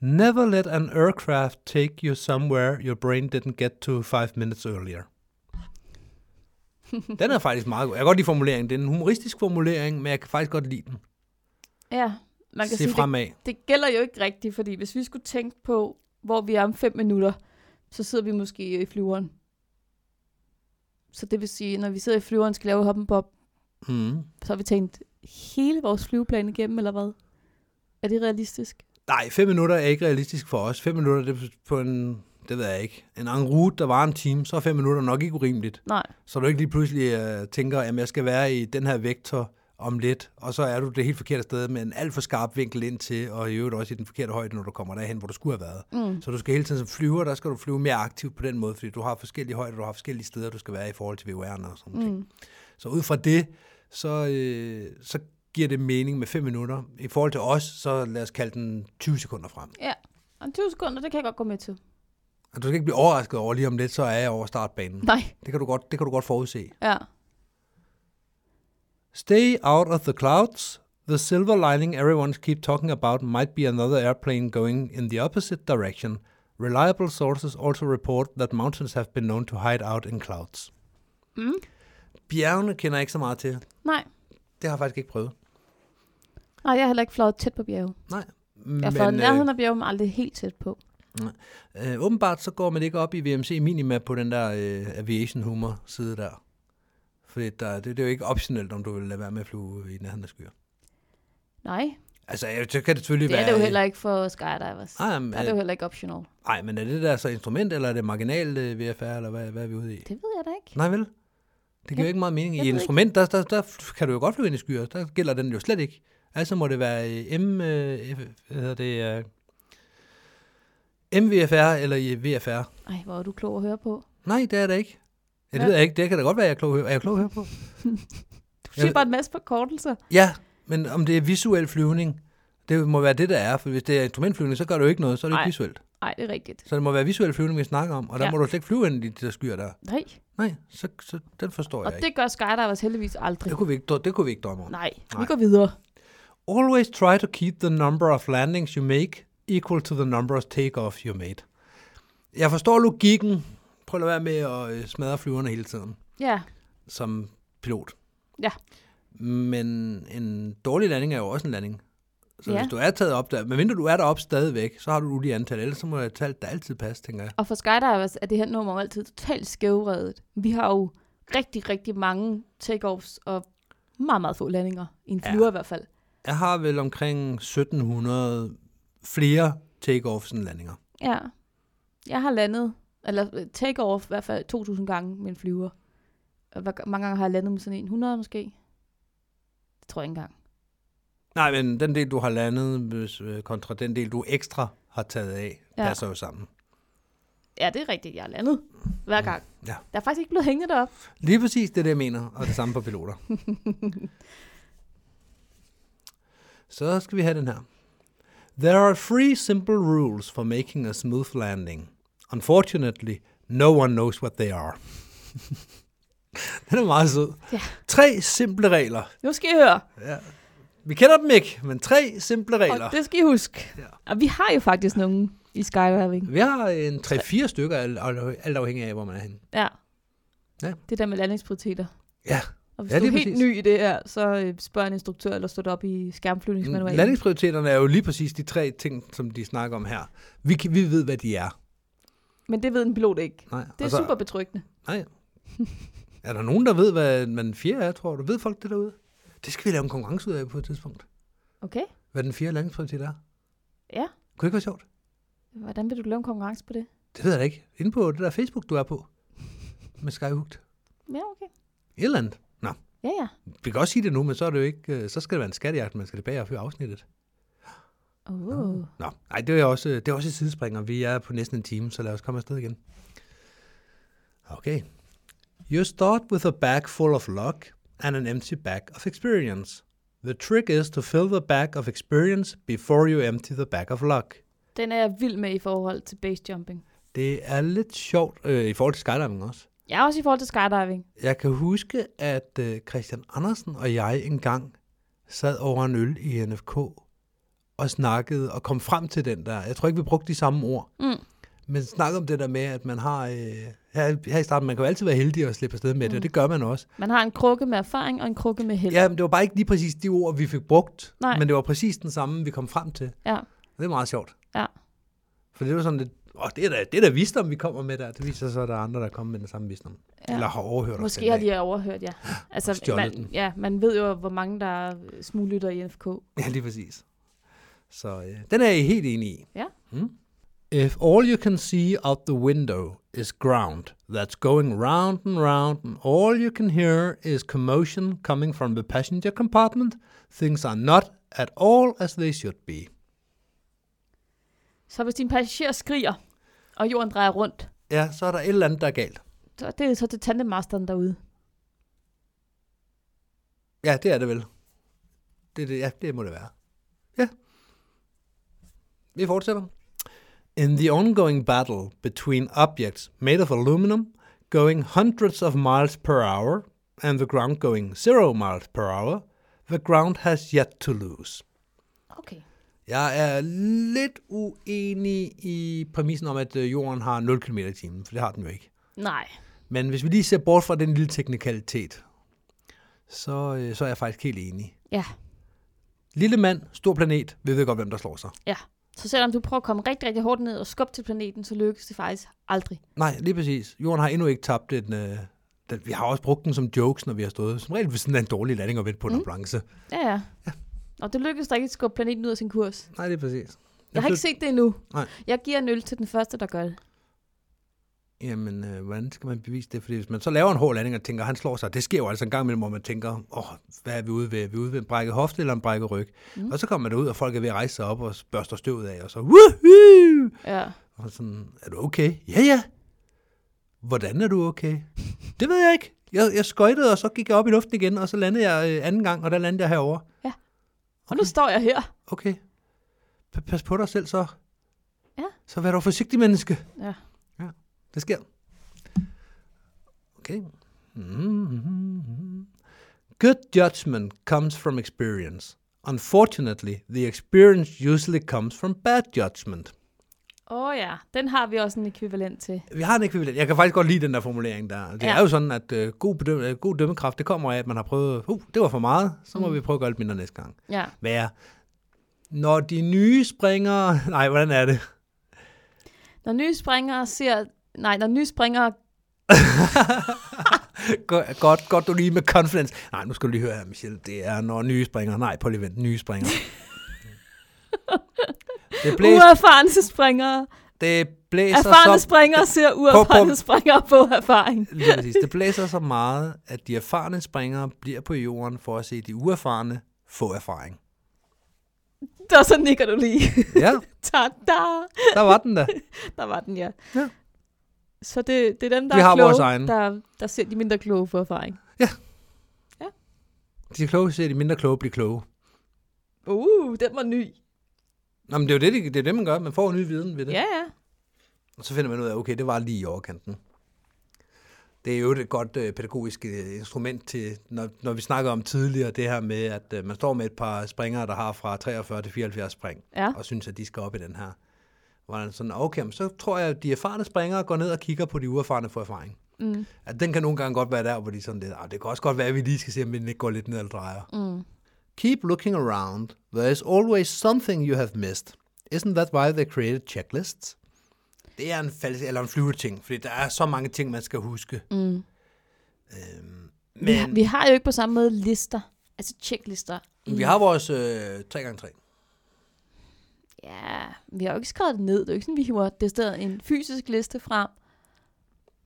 [SPEAKER 3] Never let an aircraft take you somewhere your brain didn't get to five minutes earlier. Den er faktisk meget god. Jeg kan godt lide formuleringen. Det er en humoristisk formulering, men jeg kan faktisk godt lide den.
[SPEAKER 2] Ja, man kan
[SPEAKER 3] Se
[SPEAKER 2] sige, det,
[SPEAKER 3] fremad.
[SPEAKER 2] det gælder jo ikke rigtigt, fordi hvis vi skulle tænke på, hvor vi er om fem minutter, så sidder vi måske i flyveren. Så det vil sige, når vi sidder i flyveren og skal lave hoppen bob,
[SPEAKER 3] Mm.
[SPEAKER 2] så har vi tænkt hele vores flyveplan igennem, eller hvad? Er det realistisk?
[SPEAKER 3] Nej, fem minutter er ikke realistisk for os. Fem minutter det er på en, det ved jeg ikke, en en route, der var en time, så er fem minutter nok ikke urimeligt.
[SPEAKER 2] Nej.
[SPEAKER 3] Så du ikke lige pludselig øh, tænker, at jeg skal være i den her vektor om lidt, og så er du det helt forkerte sted med en alt for skarp vinkel ind til, og i øvrigt også i den forkerte højde, når du kommer derhen, hvor du skulle have været.
[SPEAKER 2] Mm.
[SPEAKER 3] Så du skal hele tiden som flyver, der skal du flyve mere aktivt på den måde, fordi du har forskellige højder, du har forskellige steder, du skal være i forhold til VUR'en og sådan noget.
[SPEAKER 2] Mm.
[SPEAKER 3] Så ud fra det, så, øh, så giver det mening med 5 minutter. I forhold til os, så lad os kalde den 20 sekunder frem.
[SPEAKER 2] Og 20 sekunder, det kan jeg godt gå med til.
[SPEAKER 3] Og du skal ikke blive overrasket over lige om lidt, så er jeg over startbanen.
[SPEAKER 2] Nej.
[SPEAKER 3] Det kan du godt, det kan du godt forudse.
[SPEAKER 2] Ja.
[SPEAKER 3] Stay out of the clouds. The silver lining everyone's keep talking about might be another airplane going in the opposite direction. Reliable sources also report that mountains have been known to hide out in clouds.
[SPEAKER 2] Mm.
[SPEAKER 3] Bjergene kender jeg ikke så meget til.
[SPEAKER 2] Nej.
[SPEAKER 3] Det har jeg faktisk ikke prøvet.
[SPEAKER 2] Nej, jeg har heller ikke fløjet tæt på bjerge.
[SPEAKER 3] Nej.
[SPEAKER 2] Jeg har fløjet nærheden af bjerge, men øh, aldrig helt tæt på.
[SPEAKER 3] øh, åbenbart så går man ikke op i VMC Minima på den der øh, aviation humor side der. Fordi der, det, det, er jo ikke optionelt, om du vil lade være med at flyve i nærheden af skyer.
[SPEAKER 2] Nej,
[SPEAKER 3] Altså, jeg, så kan det selvfølgelig
[SPEAKER 2] det
[SPEAKER 3] være...
[SPEAKER 2] er det jo heller ikke for skydivers.
[SPEAKER 3] Ej, jamen,
[SPEAKER 2] Der er det jo heller ikke optional.
[SPEAKER 3] Nej, men er det der så instrument, eller er det marginal øh, VFR, eller hvad, hvad er vi ude i?
[SPEAKER 2] Det ved jeg da ikke.
[SPEAKER 3] Nej, vel? Det giver jo
[SPEAKER 2] Jeg-
[SPEAKER 3] ikke meget mening.
[SPEAKER 2] jeg
[SPEAKER 3] I
[SPEAKER 2] ved
[SPEAKER 3] instrument, der, der, der, kan du jo godt flyve ind i skyer. Der gælder den jo slet ikke. Altså må det være øh, M, øh, F- hvad hedder det, MVFR eller i VFR?
[SPEAKER 2] Ej, hvor er du klog at høre på.
[SPEAKER 3] Nej, det er det ikke. Ja, det
[SPEAKER 2] Hvad?
[SPEAKER 3] ved jeg ikke. Det kan da godt være, jeg er klog, at høre- er jeg klog at høre på.
[SPEAKER 2] Du siger
[SPEAKER 3] ved-
[SPEAKER 2] bare en masse forkortelser.
[SPEAKER 3] Ja, men om det er visuel flyvning, det må være det, der er. For hvis det er instrumentflyvning, så gør du ikke noget, så er det
[SPEAKER 2] Nej.
[SPEAKER 3] ikke visuelt.
[SPEAKER 2] Nej, det er rigtigt.
[SPEAKER 3] Så det må være visuel flyvning, vi snakker om, og der
[SPEAKER 2] Ja.
[SPEAKER 3] ja. må du slet ikke flyve ind i de der skyer der.
[SPEAKER 2] Nej,
[SPEAKER 3] Nej, så, så den forstår
[SPEAKER 2] og
[SPEAKER 3] jeg ikke.
[SPEAKER 2] det gør skydivers heldigvis aldrig.
[SPEAKER 3] Det kunne, vi ikke, dr- det kunne vi ikke drømme om.
[SPEAKER 2] Nej, vi
[SPEAKER 3] Nej.
[SPEAKER 2] går videre.
[SPEAKER 3] Always try to keep the number of landings you make equal to the number of takeoff you made. Jeg forstår logikken. Prøv at lade være med at øh, smadre flyverne hele tiden
[SPEAKER 2] Ja,
[SPEAKER 3] som pilot.
[SPEAKER 2] Ja.
[SPEAKER 3] Men en dårlig landing er jo også en landing. Så
[SPEAKER 2] Ja.
[SPEAKER 3] ja. hvis du er taget op der, medmindre du er deroppe stadigvæk, så har du et ulige antal. Ellers så må et tal, der altid passe, tænker jeg.
[SPEAKER 2] og for skydivers er det her nummer jo altid totalt skævredet. Vi har jo rigtig, rigtig mange takeoffs og meget, meget få landinger. I en
[SPEAKER 3] Ja.
[SPEAKER 2] flyver ja. i hvert fald.
[SPEAKER 3] Jeg har vel omkring 1700 flere takeoffs end landinger.
[SPEAKER 2] Ja. Jeg har landet, eller øh, take-off i hvert fald 2.000 gange med en flyver. Og hvor mange gange har jeg landet med sådan en? 100 måske? Det tror jeg ikke engang.
[SPEAKER 3] Nej, men den del, du har landet, hvis, øh, kontra den del, du ekstra har taget af,
[SPEAKER 2] Ja.
[SPEAKER 3] ja. passer jo sammen.
[SPEAKER 2] Ja, det er rigtigt. Jeg har landet hver gang.
[SPEAKER 3] Mm. Ja.
[SPEAKER 2] Der er faktisk ikke blevet hængende derop.
[SPEAKER 3] Lige præcis det, er det jeg mener, og det samme på piloter. Så skal vi have den her. There are three simple rules for making a smooth landing. Unfortunately, no one knows what they are. den er meget sød.
[SPEAKER 2] Ja.
[SPEAKER 3] Tre simple regler.
[SPEAKER 2] Nu skal I høre,
[SPEAKER 3] Ja. Vi kender dem ikke, men tre simple regler.
[SPEAKER 2] og det skal I huske.
[SPEAKER 3] Ja.
[SPEAKER 2] Og vi har jo faktisk nogen i skydiving.
[SPEAKER 3] Vi har øh, en 3-4 stykker, alt, alt- alt afhængig af, hvor man er henne.
[SPEAKER 2] Ja.
[SPEAKER 3] Ja.
[SPEAKER 2] Det der med landingsprioriteter.
[SPEAKER 3] Ja,
[SPEAKER 2] Og hvis
[SPEAKER 3] Ja,
[SPEAKER 2] ja, du er
[SPEAKER 3] lige
[SPEAKER 2] helt
[SPEAKER 3] præcis.
[SPEAKER 2] ny i det her, så øh, spørg en instruktør eller stå det op i
[SPEAKER 3] Mm,
[SPEAKER 2] skærmflyvningsmanualen.
[SPEAKER 3] landingsprioriteterne er jo lige præcis de tre ting, som de snakker om her. Vi, kan, vi ved, hvad de er.
[SPEAKER 2] Men det ved en pilot ikke.
[SPEAKER 3] Nej,
[SPEAKER 2] Det er
[SPEAKER 3] og så-
[SPEAKER 2] super betryggende.
[SPEAKER 3] Nej. Er der nogen, der ved, hvad den fjerde er, tror du? Ved folk det derude? Det skal vi lave en konkurrence ud af på et tidspunkt.
[SPEAKER 2] Okay?
[SPEAKER 3] Hvad den fjerde landingsprioritet er.
[SPEAKER 2] Ja.
[SPEAKER 3] Kunne det ikke være sjovt?
[SPEAKER 2] Hvordan vil du lave en konkurrence på det?
[SPEAKER 3] Det ved jeg da ikke. Inde på det der Facebook, du er på. Med Skyhooked.
[SPEAKER 2] Ja, okay.
[SPEAKER 3] Et eller andet. Nå,
[SPEAKER 2] Ja, ja.
[SPEAKER 3] vi kan også sige det nu, men så, er det jo ikke, øh, så skal det være en skattejagt, man skal tilbage og høre afsnittet.
[SPEAKER 2] Oh.
[SPEAKER 3] Nå, nej, det er også, det er også et sidespring, og vi er på næsten en time, så lad os komme afsted igen. Okay. You start with a bag full of luck and an empty bag of experience. The trick is to fill the bag of experience before you empty the bag of luck.
[SPEAKER 2] Den er jeg vild med i forhold til base jumping.
[SPEAKER 3] Det er lidt sjovt øh, i forhold til skydiving også.
[SPEAKER 2] Jeg er også i forhold til skydiving.
[SPEAKER 3] Jeg kan huske, at øh, Christian Andersen og jeg engang sad over en øl i NFK og snakkede og kom frem til den der. Jeg tror ikke, vi brugte de samme ord.
[SPEAKER 2] Mm.
[SPEAKER 3] Men snak om det der med, at man har... Øh, her, her i starten, man kan jo altid være heldig at slippe afsted med
[SPEAKER 2] Mm.
[SPEAKER 3] det, og det gør man også.
[SPEAKER 2] Man har en krukke med erfaring og en krukke med held.
[SPEAKER 3] Ja, men det var bare ikke lige præcis de ord, vi fik brugt,
[SPEAKER 2] Nej.
[SPEAKER 3] men det var præcis den samme, vi kom frem til.
[SPEAKER 2] ja.
[SPEAKER 3] Og det er meget sjovt.
[SPEAKER 2] Ja.
[SPEAKER 3] For det var sådan lidt... Åh, det er da, det er da visdom, vi kommer med der. Det viser sig, så, at der er andre, der kommer med den samme visdom.
[SPEAKER 2] Ja.
[SPEAKER 3] Ja. Eller har overhørt os
[SPEAKER 2] Måske
[SPEAKER 3] den
[SPEAKER 2] har
[SPEAKER 3] dag.
[SPEAKER 2] de overhørt, ja.
[SPEAKER 3] Og
[SPEAKER 2] Altså,
[SPEAKER 3] stjålet
[SPEAKER 2] man,
[SPEAKER 3] den.
[SPEAKER 2] ja, man ved jo, hvor mange der er smuglytter i NFK.
[SPEAKER 3] Ja, lige præcis. Så øh, den er jeg helt enig i.
[SPEAKER 2] Ja.
[SPEAKER 3] Mm. If all you can see out the window is ground that's going round and round, and all you can hear is commotion coming from the passenger compartment, things are not at all as they should be.
[SPEAKER 2] Så hvis din passager skriger, og jorden drejer rundt,
[SPEAKER 3] Ja, så er der et eller andet, der er galt.
[SPEAKER 2] så det er så til tandemasteren derude.
[SPEAKER 3] Ja, det er det vel. Det, er det, ja, det må det være. Ja. Vi fortsætter. In the ongoing battle between objects made of aluminum going hundreds of miles per hour and the ground going zero miles per hour, the ground has yet to lose.
[SPEAKER 2] Okay.
[SPEAKER 3] Jeg er lidt uenig i præmissen om, at øh, jorden har 0 km i timen, for det har den jo ikke.
[SPEAKER 2] Nej.
[SPEAKER 3] Men hvis vi lige ser bort fra den lille teknikalitet, så, øh, så er jeg faktisk helt enig.
[SPEAKER 2] Ja,
[SPEAKER 3] Lille mand, stor planet, vi ved godt, hvem der slår sig.
[SPEAKER 2] ja. Så selvom du prøver at komme rigtig, rigtig hårdt ned og skubbe til planeten, så lykkes det faktisk aldrig.
[SPEAKER 3] Nej, lige præcis. Jorden har endnu ikke tabt den, øh, den. Vi har også brugt den som jokes, når vi har stået. Som regel ved sådan en dårlig landing og vente på en mm. ambulance.
[SPEAKER 2] Ja, ja. Og det lykkes der ikke at skubbe planeten ud af sin kurs.
[SPEAKER 3] Nej, lige præcis.
[SPEAKER 2] Jeg har ikke set det endnu.
[SPEAKER 3] Nej.
[SPEAKER 2] Jeg giver en øl til den første, der gør det.
[SPEAKER 3] Jamen, øh, hvordan skal man bevise det? Fordi hvis man så laver en hård landing og tænker, han slår sig, det sker jo altså en gang imellem, hvor man tænker, åh, oh, hvad er vi ude ved? Er vi ude ved en brækket hofte eller en brækket ryg? Mm. Og så kommer man ud, og folk er ved at rejse sig op og børster støvet af, og så, woohoo!
[SPEAKER 2] Ja.
[SPEAKER 3] Og sådan, er du okay? Ja, ja. Hvordan er du okay? Det ved jeg ikke. Jeg, jeg skøjtede, og så gik jeg op i luften igen, og så landede jeg øh, anden gang, og der landede jeg herover.
[SPEAKER 2] Og nu står jeg her.
[SPEAKER 3] Okay. Pa- pas på dig selv så.
[SPEAKER 2] Ja.
[SPEAKER 3] Så vær dog forsigtig, menneske.
[SPEAKER 2] Ja.
[SPEAKER 3] Ja, det sker. Okay. Mhm. Good judgment comes from experience. Unfortunately, the experience usually comes from bad judgment.
[SPEAKER 2] Åh oh, ja, den har vi også en ekvivalent til.
[SPEAKER 3] Vi har en ekvivalent. Jeg kan faktisk godt lide den der formulering der. Det
[SPEAKER 2] Ja.
[SPEAKER 3] ja. er jo sådan, at øh, god, bedøm- øh, god dømmekraft, det kommer af, at man har prøvet, uh, det var for meget, så må mm. vi prøve at gøre lidt mindre næste gang.
[SPEAKER 2] Ja.
[SPEAKER 3] Være, når de nye springer... Nej, hvordan er det?
[SPEAKER 2] Når nye springere ser... Nej, når nye springere...
[SPEAKER 3] Go- godt, godt, du lige med confidence. Nej, nu skal du lige høre her, Michelle. Det er, når nye springer... Nej, på lige vent. Nye springer. det, blæs,
[SPEAKER 2] Uerfarne springere.
[SPEAKER 3] det blæser
[SPEAKER 2] Erfarne
[SPEAKER 3] så...
[SPEAKER 2] springere ser uerfarne
[SPEAKER 3] pum.
[SPEAKER 2] springere på erfaring.
[SPEAKER 3] Lige præcis. Det blæser så meget, at de erfarne springere bliver på jorden for at se de uerfarne få erfaring.
[SPEAKER 2] Der så nikker du lige.
[SPEAKER 3] Ja,
[SPEAKER 2] Ta-da!
[SPEAKER 3] der var den da.
[SPEAKER 2] Der var den, ja.
[SPEAKER 3] Ja.
[SPEAKER 2] Så det, det er dem, der
[SPEAKER 3] Vi
[SPEAKER 2] er
[SPEAKER 3] har
[SPEAKER 2] kloge,
[SPEAKER 3] vores egen.
[SPEAKER 2] Der, der ser de mindre kloge på erfaring.
[SPEAKER 3] De kloge ser de mindre kloge blive kloge.
[SPEAKER 2] Uh, den var ny.
[SPEAKER 3] Nå, men det er jo det, det, det, er det, man gør. Man får en ny viden ved det.
[SPEAKER 2] Ja, ja.
[SPEAKER 3] Og så finder man ud af, okay, det var lige i overkanten. Det er jo et godt øh, pædagogisk øh, instrument til, når, når vi snakker om tidligere, det her med, at øh, man står med et par springere, der har fra 43 til 74 spring,
[SPEAKER 2] Ja.
[SPEAKER 3] og synes, at de skal op i den her. Hvor man sådan, okay, men så tror jeg, at de erfarne springere går ned og kigger på de uerfarne for erfaring.
[SPEAKER 2] Mm.
[SPEAKER 3] At den kan nogle gange godt være der, hvor de sådan lidt, "Ah, det kan også godt være, at vi lige skal se, om den ikke går lidt ned eller drejer.
[SPEAKER 2] Mm.
[SPEAKER 3] Keep looking around. There is always something you have missed. Isn't that why they created checklists? Det er en falsk eller en flyveting, fordi der er så mange ting, man skal huske.
[SPEAKER 2] Mm.
[SPEAKER 3] Øhm,
[SPEAKER 2] Men... Vi, har,
[SPEAKER 3] men
[SPEAKER 2] vi har jo ikke på samme måde lister. Altså checklister.
[SPEAKER 3] vi har vores øh, 3x3.
[SPEAKER 2] Ja, vi har jo ikke skrevet det ned. Det er jo ikke sådan, vi hiver det sted en fysisk liste frem.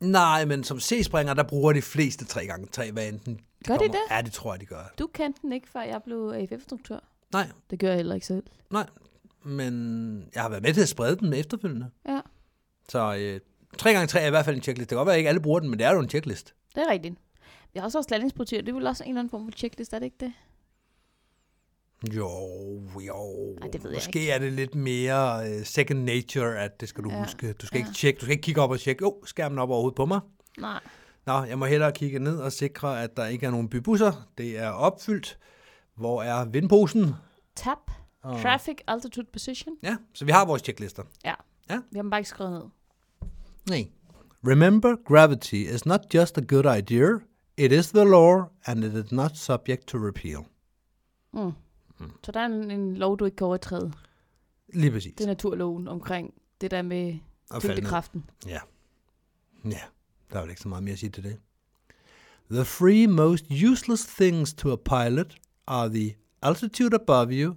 [SPEAKER 3] Nej, men som C-springer, der bruger de fleste 3x3, hvad enten de
[SPEAKER 2] Gør de
[SPEAKER 3] kommer.
[SPEAKER 2] det?
[SPEAKER 3] Ja, det tror jeg, de gør.
[SPEAKER 2] Du kendte den ikke, før jeg blev AFF-instruktør.
[SPEAKER 3] Nej,
[SPEAKER 2] Det gør jeg heller ikke selv.
[SPEAKER 3] nej. Men jeg har været med til at sprede dem efterfølgende.
[SPEAKER 2] Ja,
[SPEAKER 3] Så øh, 3x3 er i hvert fald en checklist. Det kan godt være, at ikke alle bruger den, men det er jo en checklist.
[SPEAKER 2] det er rigtigt. Vi har også vores landingsprotier. Det er vel også en eller anden form for checklist, er det ikke det?
[SPEAKER 3] Jo, jo.
[SPEAKER 2] Ej, det ved jeg
[SPEAKER 3] Måske er det lidt mere uh, second nature, at det skal du
[SPEAKER 2] Ja,
[SPEAKER 3] ja. huske. Du skal
[SPEAKER 2] ja.
[SPEAKER 3] ikke tjekke, du skal ikke kigge op og tjekke, jo, skærmen op overhovedet på mig.
[SPEAKER 2] Nej.
[SPEAKER 3] Nå, jeg må hellere kigge ned og sikre, at der ikke er nogen bybusser. Det er opfyldt. Hvor er vindposen?
[SPEAKER 2] Tab.
[SPEAKER 3] Og-
[SPEAKER 2] Traffic, altitude, position.
[SPEAKER 3] Ja, så vi har vores checklister.
[SPEAKER 2] Vi har dem bare ikke skrevet ned.
[SPEAKER 3] Nej. Remember, gravity is not just a good idea. It is the law, and it is not subject to repeal.
[SPEAKER 2] Mm. Så der er en, en lov, du ikke kan overtræde.
[SPEAKER 3] Lige præcis.
[SPEAKER 2] Det er naturloven omkring det der med
[SPEAKER 3] Og fald ned.
[SPEAKER 2] tyngdekraften.
[SPEAKER 3] Ja, der er vel ikke så meget mere at sige til det. The three most useless things to a pilot are the altitude above you,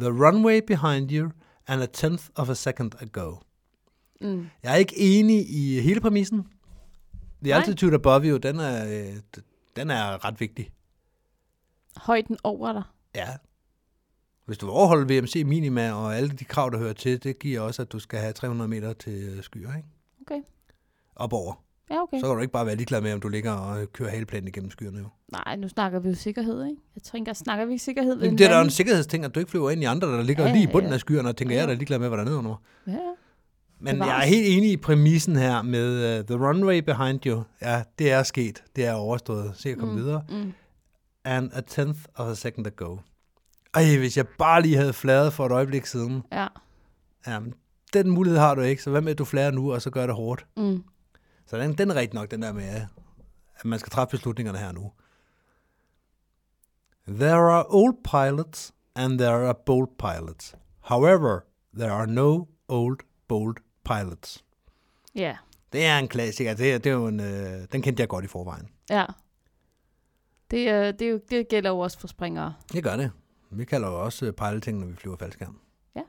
[SPEAKER 3] the runway behind you, and a tenth of a second ago.
[SPEAKER 2] Mm.
[SPEAKER 3] Jeg er ikke enig i hele præmissen. The
[SPEAKER 2] Nej.
[SPEAKER 3] altitude above you, den er, øh, d- den er ret vigtig.
[SPEAKER 2] Højden over dig.
[SPEAKER 3] Ja. Hvis du overholder VMC minima og alle de krav, der hører til, det giver også, at du skal have 300 meter til øh, skyer, ikke?
[SPEAKER 2] Okay.
[SPEAKER 3] Op over.
[SPEAKER 2] Ja, okay.
[SPEAKER 3] Så kan du ikke bare være ligeglad med, om du ligger og kører haleplanen igennem skyerne, jo.
[SPEAKER 2] Nej, nu snakker vi jo sikkerhed, ikke? Jeg tænker, snakker vi ikke sikkerhed? ved
[SPEAKER 3] Jamen, det er da en
[SPEAKER 2] landing?
[SPEAKER 3] sikkerhedsting, at du ikke flyver ind i andre, der ligger
[SPEAKER 2] Ja,
[SPEAKER 3] ja, lige i bunden
[SPEAKER 2] ja.
[SPEAKER 3] af skyerne, og tænker,
[SPEAKER 2] Ja.
[SPEAKER 3] jeg er da ligeglad med, hvad der er nedenunder.
[SPEAKER 2] Ja, ja.
[SPEAKER 3] Men
[SPEAKER 2] Bevares.
[SPEAKER 3] jeg er helt enig i præmissen her med uh, The Runway Behind You. Ja, det er sket. Det er overstået. Se at komme mm. videre.
[SPEAKER 2] Mm.
[SPEAKER 3] And a tenth of a second ago. Ej, hvis jeg bare lige havde fladet for et øjeblik siden.
[SPEAKER 2] Ja.
[SPEAKER 3] Ja, men den mulighed har du ikke, så hvad med, at du flader nu, og så gør det hårdt?
[SPEAKER 2] Mm.
[SPEAKER 3] Så den, den er rigtig nok, den der med, øh, at man skal træffe beslutningerne her nu. There are old pilots, and there are bold pilots. However, there are no old, bold pilots.
[SPEAKER 2] Ja.
[SPEAKER 3] Det er en klassiker. Det er, det er jo en, øh, den kendte jeg godt i forvejen.
[SPEAKER 2] Ja. Det, øh, det, er jo, det gælder jo også for springere.
[SPEAKER 3] Det gør det. Vi kalder jo også øh, piloting, når vi flyver faldskærm.
[SPEAKER 2] Ja.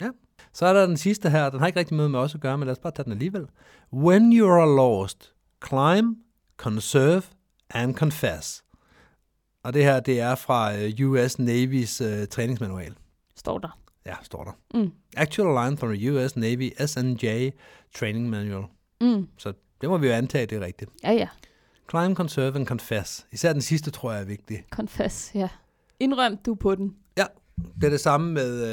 [SPEAKER 3] Ja. Så er der den sidste her. Den har ikke rigtig noget med os at gøre, men lad os bare tage den alligevel. When you are lost, climb, conserve and confess. Og det her, det er fra øh, US Navy's øh, træningsmanual.
[SPEAKER 2] Står der.
[SPEAKER 3] Ja, står der.
[SPEAKER 2] Mm.
[SPEAKER 3] Actual line from the US Navy SNJ Training Manual.
[SPEAKER 2] Mm.
[SPEAKER 3] Så det må vi jo antage, det er rigtigt.
[SPEAKER 2] Ja, ja.
[SPEAKER 3] Climb, conserve and confess. Især den sidste, tror jeg, er vigtig.
[SPEAKER 2] Confess, ja. Indrøm du er på den.
[SPEAKER 3] Ja, det er det samme med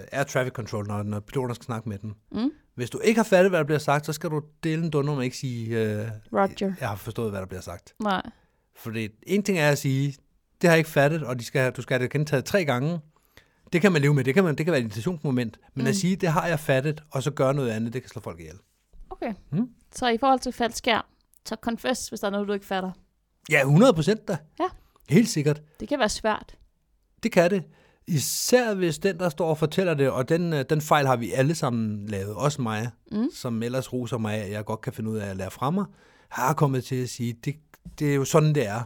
[SPEAKER 3] øh, air traffic control, når, når piloterne skal snakke med dem.
[SPEAKER 2] Mm.
[SPEAKER 3] Hvis du ikke har fattet, hvad der bliver sagt, så skal du dele en dunder med ikke sige, øh,
[SPEAKER 2] Roger.
[SPEAKER 3] jeg har forstået, hvad der bliver sagt.
[SPEAKER 2] Nej.
[SPEAKER 3] For det, en ting er at sige, det har jeg ikke fattet, og de skal, have- du skal have det gentaget tre gange. Det kan man leve med, det kan, man, det kan være et irritationsmoment. Men mm. at sige, det har jeg fattet, og så gøre noget andet, det kan slå folk ihjel.
[SPEAKER 2] Okay.
[SPEAKER 3] Mm.
[SPEAKER 2] Så i forhold til falsk skærm, så confess, hvis der er noget, du ikke fatter.
[SPEAKER 3] Ja, 100 procent da.
[SPEAKER 2] Ja.
[SPEAKER 3] Helt sikkert.
[SPEAKER 2] Det kan være svært.
[SPEAKER 3] Det kan det. Især hvis den, der står og fortæller det, og den, øh, den fejl har vi alle sammen lavet, også mig, mm. som ellers roser mig, af, at jeg godt kan finde ud af at lære fra mig, har kommet til at sige, det, det er jo sådan, det er.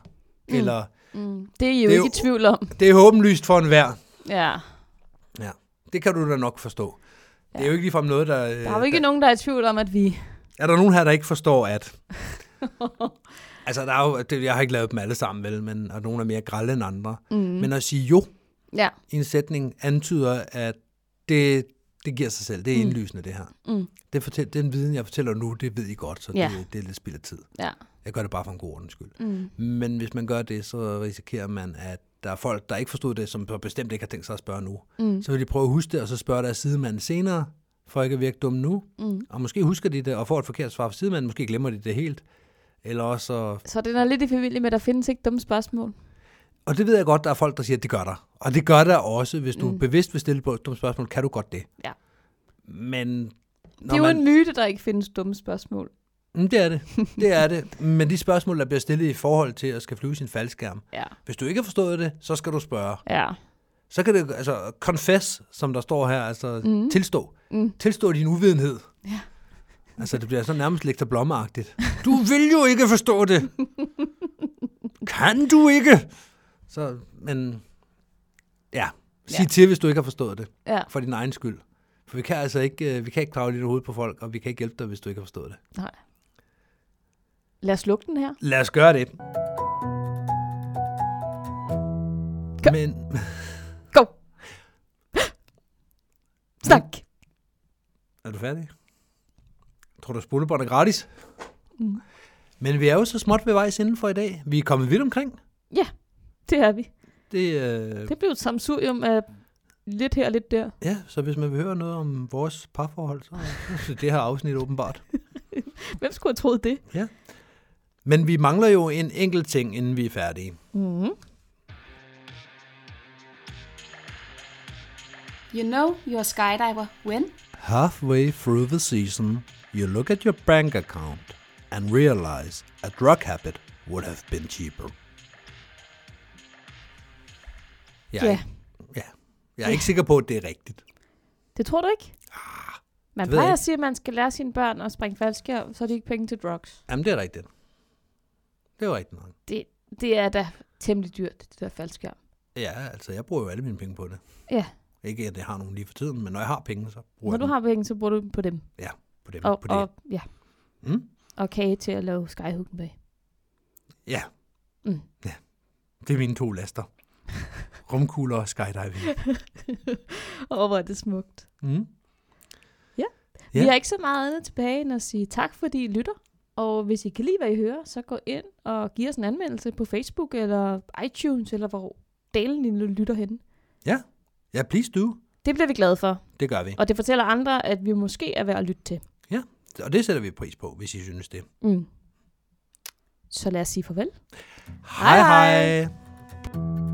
[SPEAKER 3] Mm. Eller,
[SPEAKER 2] Mm. Det er I jo
[SPEAKER 3] Det er
[SPEAKER 2] ikke
[SPEAKER 3] jo-
[SPEAKER 2] i tvivl om.
[SPEAKER 3] det er håbenlyst for enhver.
[SPEAKER 2] Ja.
[SPEAKER 3] Ja, det kan du da nok forstå. Ja. Det er jo ikke ligefrem noget, der... øh,
[SPEAKER 2] Der er jo ikke nogen, der er i tvivl om, at vi...
[SPEAKER 3] Er der nogen her, der ikke forstår, at... altså, der er jo, det, jeg har ikke lavet dem alle sammen, vel, men, og nogle er mere grælde end andre. Mm. Men at sige jo
[SPEAKER 2] Ja.
[SPEAKER 3] i en sætning antyder, at det, det giver sig selv. Det er mm. indlysende, det her.
[SPEAKER 2] Mm.
[SPEAKER 3] Det fortæl, den viden, jeg fortæller nu, det ved I godt, så
[SPEAKER 2] Ja.
[SPEAKER 3] det, det er lidt spild af tid.
[SPEAKER 2] Ja.
[SPEAKER 3] Jeg gør det bare for en god ordens skyld.
[SPEAKER 2] Mm.
[SPEAKER 3] Men hvis man gør det, så risikerer man, at der er folk, der ikke forstod det, som så bestemt ikke har tænkt sig at spørge nu.
[SPEAKER 2] Mm.
[SPEAKER 3] Så vil de prøve at huske det, og så spørge deres sidemand senere, for ikke at virke dum nu.
[SPEAKER 2] Mm.
[SPEAKER 3] Og måske husker de det, og får et forkert svar fra sidemanden. Måske glemmer de det helt. Eller også, så-
[SPEAKER 2] Så den er lidt i familie med, at der findes ikke dumme spørgsmål.
[SPEAKER 3] og det ved jeg godt, der er folk, der siger, at det gør der. Og det gør der også, hvis du mm. bevidst vil stille på et dumt spørgsmål, kan du godt det.
[SPEAKER 2] Ja.
[SPEAKER 3] Men
[SPEAKER 2] Det er
[SPEAKER 3] når
[SPEAKER 2] jo
[SPEAKER 3] man,
[SPEAKER 2] en myte, der ikke findes dumme spørgsmål.
[SPEAKER 3] Mm, det er det. Det er det. Men de spørgsmål, der bliver stillet i forhold til at skal flyve sin faldskærm,
[SPEAKER 2] Ja.
[SPEAKER 3] hvis du ikke har forstået det, så skal du spørge.
[SPEAKER 2] Ja.
[SPEAKER 3] Så kan det, altså, confess, som der står her, altså mm. tilstå.
[SPEAKER 2] Mm.
[SPEAKER 3] Tilstå din uvidenhed.
[SPEAKER 2] Ja.
[SPEAKER 3] Altså, det bliver så nærmest lektor blommeagtigt. Du vil jo ikke forstå det. kan du ikke? Så, men, ja. Sig
[SPEAKER 2] Ja.
[SPEAKER 3] ja. til, hvis du ikke har forstået det.
[SPEAKER 2] Ja.
[SPEAKER 3] For din egen skyld. For vi kan altså ikke, øh, vi kan ikke kravle lidt i hovedet på folk, og vi kan ikke hjælpe dig, hvis du ikke har forstået det.
[SPEAKER 2] Nej. Lad os lukke den her.
[SPEAKER 3] Lad os gøre det.
[SPEAKER 2] Kom.
[SPEAKER 3] Men,
[SPEAKER 2] Go! Snak!
[SPEAKER 3] Er du færdig? Tror du, spolebånd er gratis? Mm. Men vi er jo så småt ved vejs inden for i dag. Vi er kommet vidt omkring.
[SPEAKER 2] Ja, det er vi.
[SPEAKER 3] Det, øh,
[SPEAKER 2] Det blev et samsurium af lidt her og lidt der.
[SPEAKER 3] ja, så hvis man vil høre noget om vores parforhold, så så er det her afsnit åbenbart.
[SPEAKER 2] Hvem skulle have troet det?
[SPEAKER 3] Ja. Men vi mangler jo en enkelt ting, inden vi er færdige.
[SPEAKER 2] Mm-hmm.
[SPEAKER 4] You know you're a skydiver when
[SPEAKER 3] Halfway through the season, you look at your bank account and realize a drug habit would have been cheaper. Jeg er
[SPEAKER 2] Ja.
[SPEAKER 3] ikke- ja. Jeg er ikke sikker på, at det er rigtigt.
[SPEAKER 2] Det tror du ikke? Man
[SPEAKER 3] Ah, det ved jeg
[SPEAKER 2] plejer at
[SPEAKER 3] ikke.
[SPEAKER 2] sige, at man skal lære sine børn at springe faldskærm, så er de ikke penge til drugs.
[SPEAKER 3] Jamen, det er rigtigt. Det var rigtigt nok.
[SPEAKER 2] Det, det er da temmelig dyrt, det der faldskærm.
[SPEAKER 3] Ja, altså, jeg bruger jo alle mine penge på det.
[SPEAKER 2] Ja,
[SPEAKER 3] Ikke, at jeg har nogen lige for tiden, men når jeg har penge, så
[SPEAKER 2] når
[SPEAKER 3] bruger jeg
[SPEAKER 2] du
[SPEAKER 3] dem.
[SPEAKER 2] har penge, så bruger du dem på dem.
[SPEAKER 3] Ja, på dem.
[SPEAKER 2] Og,
[SPEAKER 3] på det.
[SPEAKER 2] og, ja.
[SPEAKER 3] Mm?
[SPEAKER 2] og kage til at lave skyhooken bag.
[SPEAKER 3] Ja.
[SPEAKER 2] Mm.
[SPEAKER 3] ja. Det er mine to laster. Rumkugler og skydiving.
[SPEAKER 2] Åh, hvor er det smukt.
[SPEAKER 3] Mm?
[SPEAKER 2] Ja.
[SPEAKER 3] Ja.
[SPEAKER 2] Vi har ikke så meget andet tilbage end at sige tak, fordi I lytter. Og hvis I kan lide, hvad I hører, så gå ind og giv os en anmeldelse på Facebook eller iTunes, eller hvor delen I nu lytter henne.
[SPEAKER 3] Ja. Ja, please do.
[SPEAKER 2] Det bliver vi glade for,
[SPEAKER 3] Det gør vi.
[SPEAKER 2] og det fortæller andre, at vi måske er værd at lytte til.
[SPEAKER 3] Ja, og det sætter vi pris på, hvis I synes det.
[SPEAKER 2] Mm. Så lad os sige farvel.
[SPEAKER 3] Hej hej!
[SPEAKER 2] hej.
[SPEAKER 3] hej.